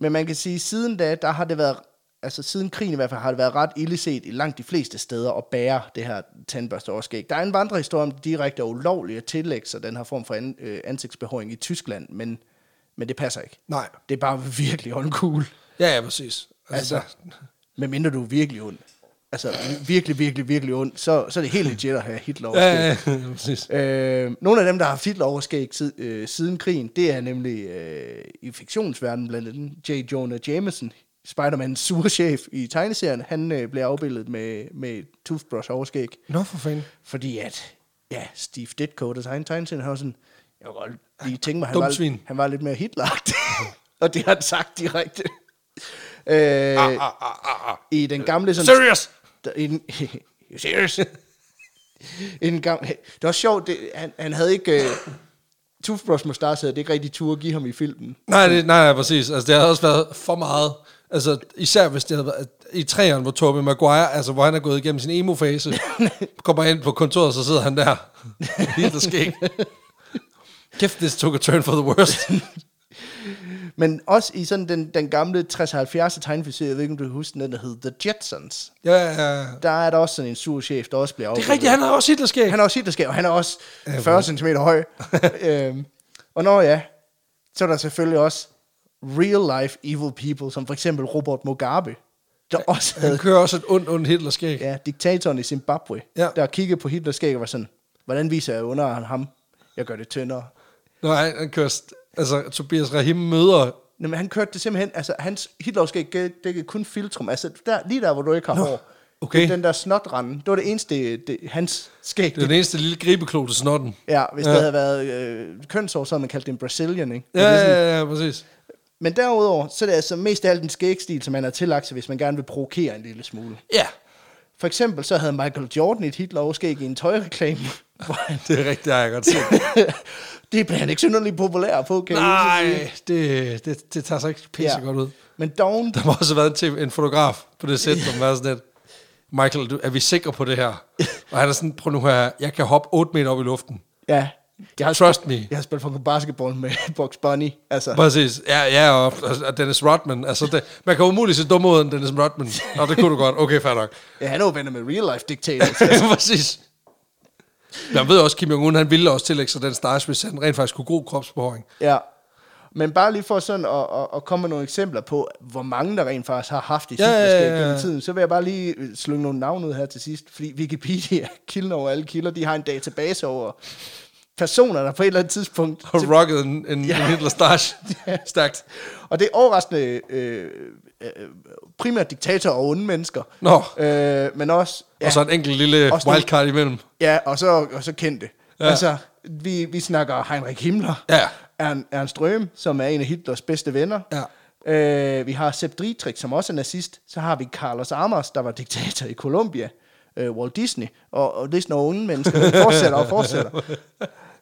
[SPEAKER 2] men man kan sige, at siden da, der har det været, altså siden krigen i hvert fald, har det været ret illeset i langt de fleste steder at bære det her tandbørste overskæg. Der er en vandrehistorie om det direkte er ulovligt at tillægge sig den her form for an, øh, ansigtsbehåring i Tyskland, men, men det passer ikke.
[SPEAKER 1] nej.
[SPEAKER 2] Det er bare virkelig uncool.
[SPEAKER 1] Ja, ja, præcis.
[SPEAKER 2] Altså,
[SPEAKER 1] Altså,
[SPEAKER 2] altså medmindre du er virkelig ond. Altså virkelig, virkelig, virkelig ond, så, så er det helt legit at have Hitler
[SPEAKER 1] der,
[SPEAKER 2] overskæg.
[SPEAKER 1] ja, ja, ja, præcis.
[SPEAKER 2] Øh, nogle af dem, der har haft Hitler overskæg sid, øh, siden krigen, det er nemlig øh, i fiktionsverdenen blandt andet J. Jonah Jameson, Spider-Mans sure chef i tegneserien. Han øh, blev afbildet med, med et toothbrush overskæg,
[SPEAKER 1] Nå, for fanden.
[SPEAKER 2] fordi at ja, Steve Ditko, der tegnede tegneserien, han var sådan, jeg kunne godt lige tænke mig, han
[SPEAKER 1] Dumt
[SPEAKER 2] var,
[SPEAKER 1] svin.
[SPEAKER 2] han var lidt mere hitler Og det har han sagt direkte. Øh,
[SPEAKER 1] Ah, ah, ah, ah, ah.
[SPEAKER 2] I den gamle... Sådan,
[SPEAKER 1] Serious!
[SPEAKER 2] der, en, you serious? en gang, det var sjovt, det, han, han havde ikke... Øh, Toothbrush Mustache havde det ikke rigtig tur at give ham i filmen.
[SPEAKER 1] Nej, det, nej, nej, præcis. Altså, det har også været for meget. Altså, især hvis det havde været i træerne, hvor Tobey Maguire, altså, hvor han er gået igennem sin emo-fase, kommer ind på kontoret, så sidder han der. Helt skæg. Kæft, this took a turn for the worst.
[SPEAKER 2] Men også i sådan den, den gamle 60-70'er tegnefilm, jeg ved ikke, om du kan huske den, der hed The Jetsons.
[SPEAKER 1] Ja, ja, ja.
[SPEAKER 2] Der er der også sådan en sur chef, der også bliver
[SPEAKER 1] Det er rigtigt, han har også Hitlerskæg.
[SPEAKER 2] Han er også hitlerskab, og han er også 40 cm høj. øhm, og når ja, så er der selvfølgelig også real life evil people, som for eksempel Robert Mugabe, der også havde
[SPEAKER 1] Han kører også et ondt, ondt Hitlerskæg.
[SPEAKER 2] ja, diktatoren i Zimbabwe, ja.
[SPEAKER 1] Ja.
[SPEAKER 2] der kiggede på Hitlers skæg og var sådan, hvordan viser jeg under ham? Jeg gør det tyndere.
[SPEAKER 1] Når han, han kører, st- altså, Tobias Rahim møder...
[SPEAKER 2] Nå, men han kørte det simpelthen, altså hans Hitlers skæg gæ- dækkede kun filtrum, altså der, lige der, hvor du ikke har Nå, hår.
[SPEAKER 1] okay.
[SPEAKER 2] Det er Den der snotrande, det var det eneste, det, hans skæg.
[SPEAKER 1] Det er
[SPEAKER 2] Det,
[SPEAKER 1] den eneste lille gribeklo til snotten.
[SPEAKER 2] ja, hvis ja.
[SPEAKER 1] Ja.
[SPEAKER 2] det havde været øh, kønsår, så havde man kaldt det en Brazilian, ikke? Men
[SPEAKER 1] Ja,
[SPEAKER 2] det er sådan-
[SPEAKER 1] ja, ja, ja, præcis.
[SPEAKER 2] Men derudover, så er det altså mest af alt en skægstil, som man har tillagt sig, hvis man gerne vil provokere en lille smule.
[SPEAKER 1] Ja,
[SPEAKER 2] For eksempel så havde Michael Jordan et Hitler-overskæg i en tøjreklame, hvor han
[SPEAKER 1] det er rigtigt, det har jeg godt set.
[SPEAKER 2] det blev han ikke synderligt populær på, kan jeg hilse at sige.
[SPEAKER 1] Nej, det, det, det tager sig ikke pisse ja. godt ud.
[SPEAKER 2] Men dogen,
[SPEAKER 1] Der må også have været en, TV, en fotograf på det sæt, som var sådan lidt, Michael, du, er vi sikre på det her? Og han er sådan, prøv nu her, jeg kan hoppe 8 meter op i luften.
[SPEAKER 2] ja, jeg har,
[SPEAKER 1] Trust me.
[SPEAKER 2] jeg har spillet fucking basketball med Box Bunny. Altså,
[SPEAKER 1] Præcis. Ja, ja og, og Dennis Rodman. Altså, det, man kan umuligt se dum ud end Dennis Rodman. Nå, det kunne du godt. Okay, fair nok.
[SPEAKER 2] ja, han er jo venner med real life dictators.
[SPEAKER 1] Præcis. Man ved også, Kim Jong-un, han ville også tillægge sig den stars, hvis han rent faktisk kunne god kropsbehåring.
[SPEAKER 2] ja. Men bare lige for sådan at, at, at komme med nogle eksempler på, hvor mange der rent faktisk har haft i
[SPEAKER 1] Ja, ja,
[SPEAKER 2] ja,
[SPEAKER 1] ja, ja.
[SPEAKER 2] ja, ja. tiden, så vil jeg bare lige øh, slynge nogle navne ud her til sidst, fordi Wikipedia kilden over alle kilder, de har en database over personer, der på et eller andet tidspunkt...
[SPEAKER 1] Har rocket en, en, ja. en Hitler stash. Stærkt.
[SPEAKER 2] Og det er overraskende øh, øh, primært diktatorer og onde mennesker.
[SPEAKER 1] Nå.
[SPEAKER 2] Øh, men også...
[SPEAKER 1] Ja. Og så en enkelt lille
[SPEAKER 2] Også nogle-
[SPEAKER 1] wildcard imellem.
[SPEAKER 2] Ja, og så, og så kendte.
[SPEAKER 1] Ja.
[SPEAKER 2] Ja. Altså, vi, vi snakker Heinrich Himmler,
[SPEAKER 1] Ja.
[SPEAKER 2] Ern, Ernst Röhm, som er en af Hitlers bedste venner.
[SPEAKER 1] Ja.
[SPEAKER 2] Øh, vi har Sepp Dietrich, som også er nazist. Så har vi Carlos Amos, der var diktator i Colombia. Øh, Walt Disney, og, og Disney og onde mennesker. Det fortsætter og fortsætter.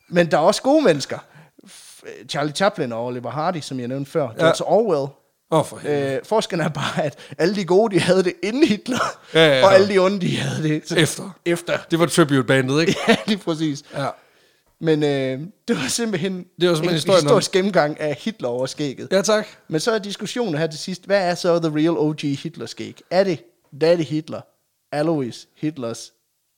[SPEAKER 2] Men der er også gode mennesker. F- Charlie Chaplin og Oliver Hardy, som jeg nævnte før. George Orwell.
[SPEAKER 1] Åh, oh, for helvede.
[SPEAKER 2] Øh, forskellen er bare, at alle de gode, de havde det inden Hitler,
[SPEAKER 1] Ja, ja, ja.
[SPEAKER 2] og alle de onde, de havde det så-
[SPEAKER 1] Efter.
[SPEAKER 2] Efter.
[SPEAKER 1] Det var tribute-bandet, ikke?
[SPEAKER 2] Ja, lige præcis.
[SPEAKER 1] Ja.
[SPEAKER 2] Men øh, det var simpelthen,
[SPEAKER 1] Det var simpelthen
[SPEAKER 2] en
[SPEAKER 1] historien om-
[SPEAKER 2] historisk gennemgang af Hitler over skægget.
[SPEAKER 1] Ja, tak.
[SPEAKER 2] Men så er diskussionen her til sidst, hvad er så the real OG Hitler skæg? Er det Daddy Hitler, Alois Hitlers,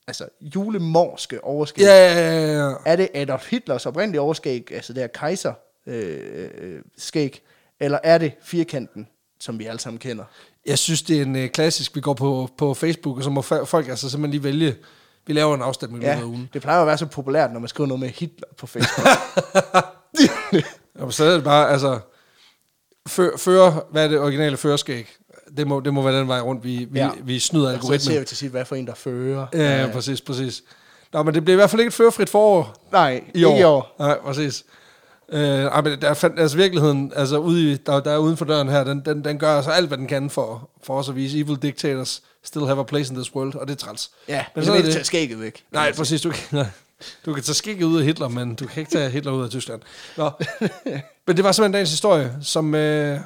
[SPEAKER 2] altså julemorske overskæg?
[SPEAKER 1] Ja, ja, ja, ja, ja.
[SPEAKER 2] Er det Adolf Hitlers oprindelige overskæg, altså det her kejser øh, øh, skæg, eller er det firkanten, som vi alle sammen kender?
[SPEAKER 1] Jeg synes, det er en øh, klassisk, vi går på, på Facebook, og så må fa- folk altså simpelthen lige vælge. Vi laver en afstemning ja.
[SPEAKER 2] Ja,
[SPEAKER 1] af ugen.
[SPEAKER 2] det plejer jo at være så populært, når man skriver noget med Hitler på Facebook.
[SPEAKER 1] Og så er det bare, altså... Før, før, hvad er det originale førerskæg? Det må, det må være den vej rundt, vi, vi, ja.
[SPEAKER 2] Ja.
[SPEAKER 1] vi snyder
[SPEAKER 2] så ser vi
[SPEAKER 1] algoritmen.
[SPEAKER 2] til sidst, hvad for en, der fører.
[SPEAKER 1] Ja, ja, præcis, præcis. Nå, men det bliver i hvert fald ikke et førerfrit forår
[SPEAKER 2] Nej,
[SPEAKER 1] i år.
[SPEAKER 2] Ikke i år.
[SPEAKER 1] Nej, præcis. Øh, ej, men der fandt, altså virkeligheden, altså ude i, der, der er uden for døren her, den, den, den gør altså alt, hvad den kan for, for os at vise evil dictators still have a place in this world, og det er træls.
[SPEAKER 2] Ja,
[SPEAKER 1] men
[SPEAKER 2] men
[SPEAKER 1] så
[SPEAKER 2] så
[SPEAKER 1] er
[SPEAKER 2] er det
[SPEAKER 1] det-
[SPEAKER 2] tage skægget væk.
[SPEAKER 1] Nej, præcis. Du kan, nej. du kan tage skikket ud af Hitler, men du kan ikke tage Hitler ud af Tyskland. Nå. Men det var simpelthen dagens historie, som, øh,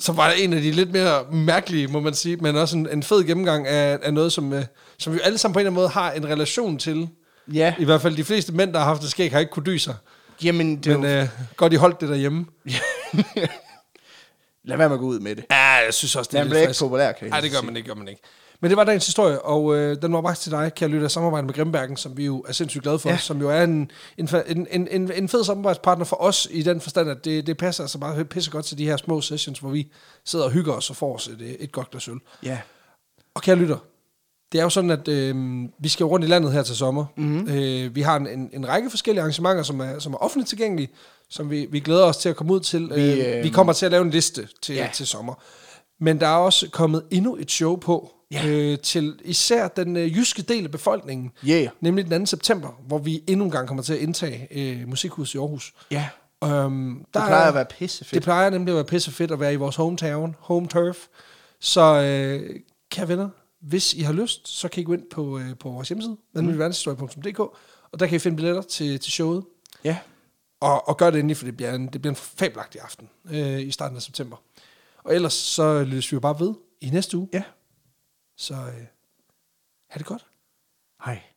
[SPEAKER 1] som var en af de lidt mere mærkelige, må man sige, men også en, en fed gennemgang af, af noget, som, øh, som vi alle sammen på en eller anden måde har en relation til.
[SPEAKER 2] Ja,
[SPEAKER 1] I hvert fald de fleste mænd, der har haft et skæg, har ikke kunne dy sig.
[SPEAKER 2] jamen det er
[SPEAKER 1] Men
[SPEAKER 2] jo...
[SPEAKER 1] øh, godt, I holdt det derhjemme.
[SPEAKER 2] Lad være med at gå ud med det.
[SPEAKER 1] Ja, jeg synes også, det er
[SPEAKER 2] Man
[SPEAKER 1] lidt
[SPEAKER 2] bliver ikke
[SPEAKER 1] frisk.
[SPEAKER 2] populær, kan jeg
[SPEAKER 1] Nej, det gør
[SPEAKER 2] sige.
[SPEAKER 1] man ikke, gør man ikke. Men det var dagens historie, og øh, den var bragt til dig, kære lytter, i samarbejde med Grimbergen, som vi jo er sindssygt glade for, ja.
[SPEAKER 2] Ja.
[SPEAKER 1] som jo er en, en, fa- en, en, en, en fed samarbejdspartner for os i den forstand, at det, det passer altså bare pisse godt til de her små sessions, hvor vi sidder og hygger os og får os et, øh, et godt glas øl.
[SPEAKER 2] Ja.
[SPEAKER 1] Og kære lytter, det er jo sådan, at øh, vi skal jo rundt i landet her til sommer.
[SPEAKER 2] Mhm.
[SPEAKER 1] Mm-hmm. Øh, vi har en, en, en række forskellige arrangementer, som er, som er offentligt tilgængelige, som vi, vi glæder os til at komme ud til. Vi,
[SPEAKER 2] Vi,
[SPEAKER 1] øh,
[SPEAKER 2] øh,
[SPEAKER 1] vi kommer til at lave en liste til, ja.
[SPEAKER 2] Ja.
[SPEAKER 1] til sommer. Men der er også kommet endnu et show på,
[SPEAKER 2] Ja.
[SPEAKER 1] øh, til især den øh, jyske del af befolkningen,
[SPEAKER 2] Yeah.
[SPEAKER 1] nemlig den 2. september, hvor vi endnu en gang kommer til at indtage øh, Musikhuset i Aarhus.
[SPEAKER 2] Ja.
[SPEAKER 1] Øhm, der
[SPEAKER 2] Det plejer at være pissefedt.
[SPEAKER 1] det plejer nemlig at være pissefedt at være i vores hometown, home turf. Så øh, kære venner, hvis I har lyst, så kan I gå ind på, øh, på vores hjemmeside, vanvittigverdenshistorie.dk, og der kan I finde billetter til, til showet.
[SPEAKER 2] ja.
[SPEAKER 1] Og, og gør det endelig, for det bliver en, det bliver en fabelagtig aften øh, i starten af september. Og ellers så lyttes vi jo bare ved i næste uge.
[SPEAKER 2] Ja.
[SPEAKER 1] Så øh, ha' det godt.
[SPEAKER 2] Hej.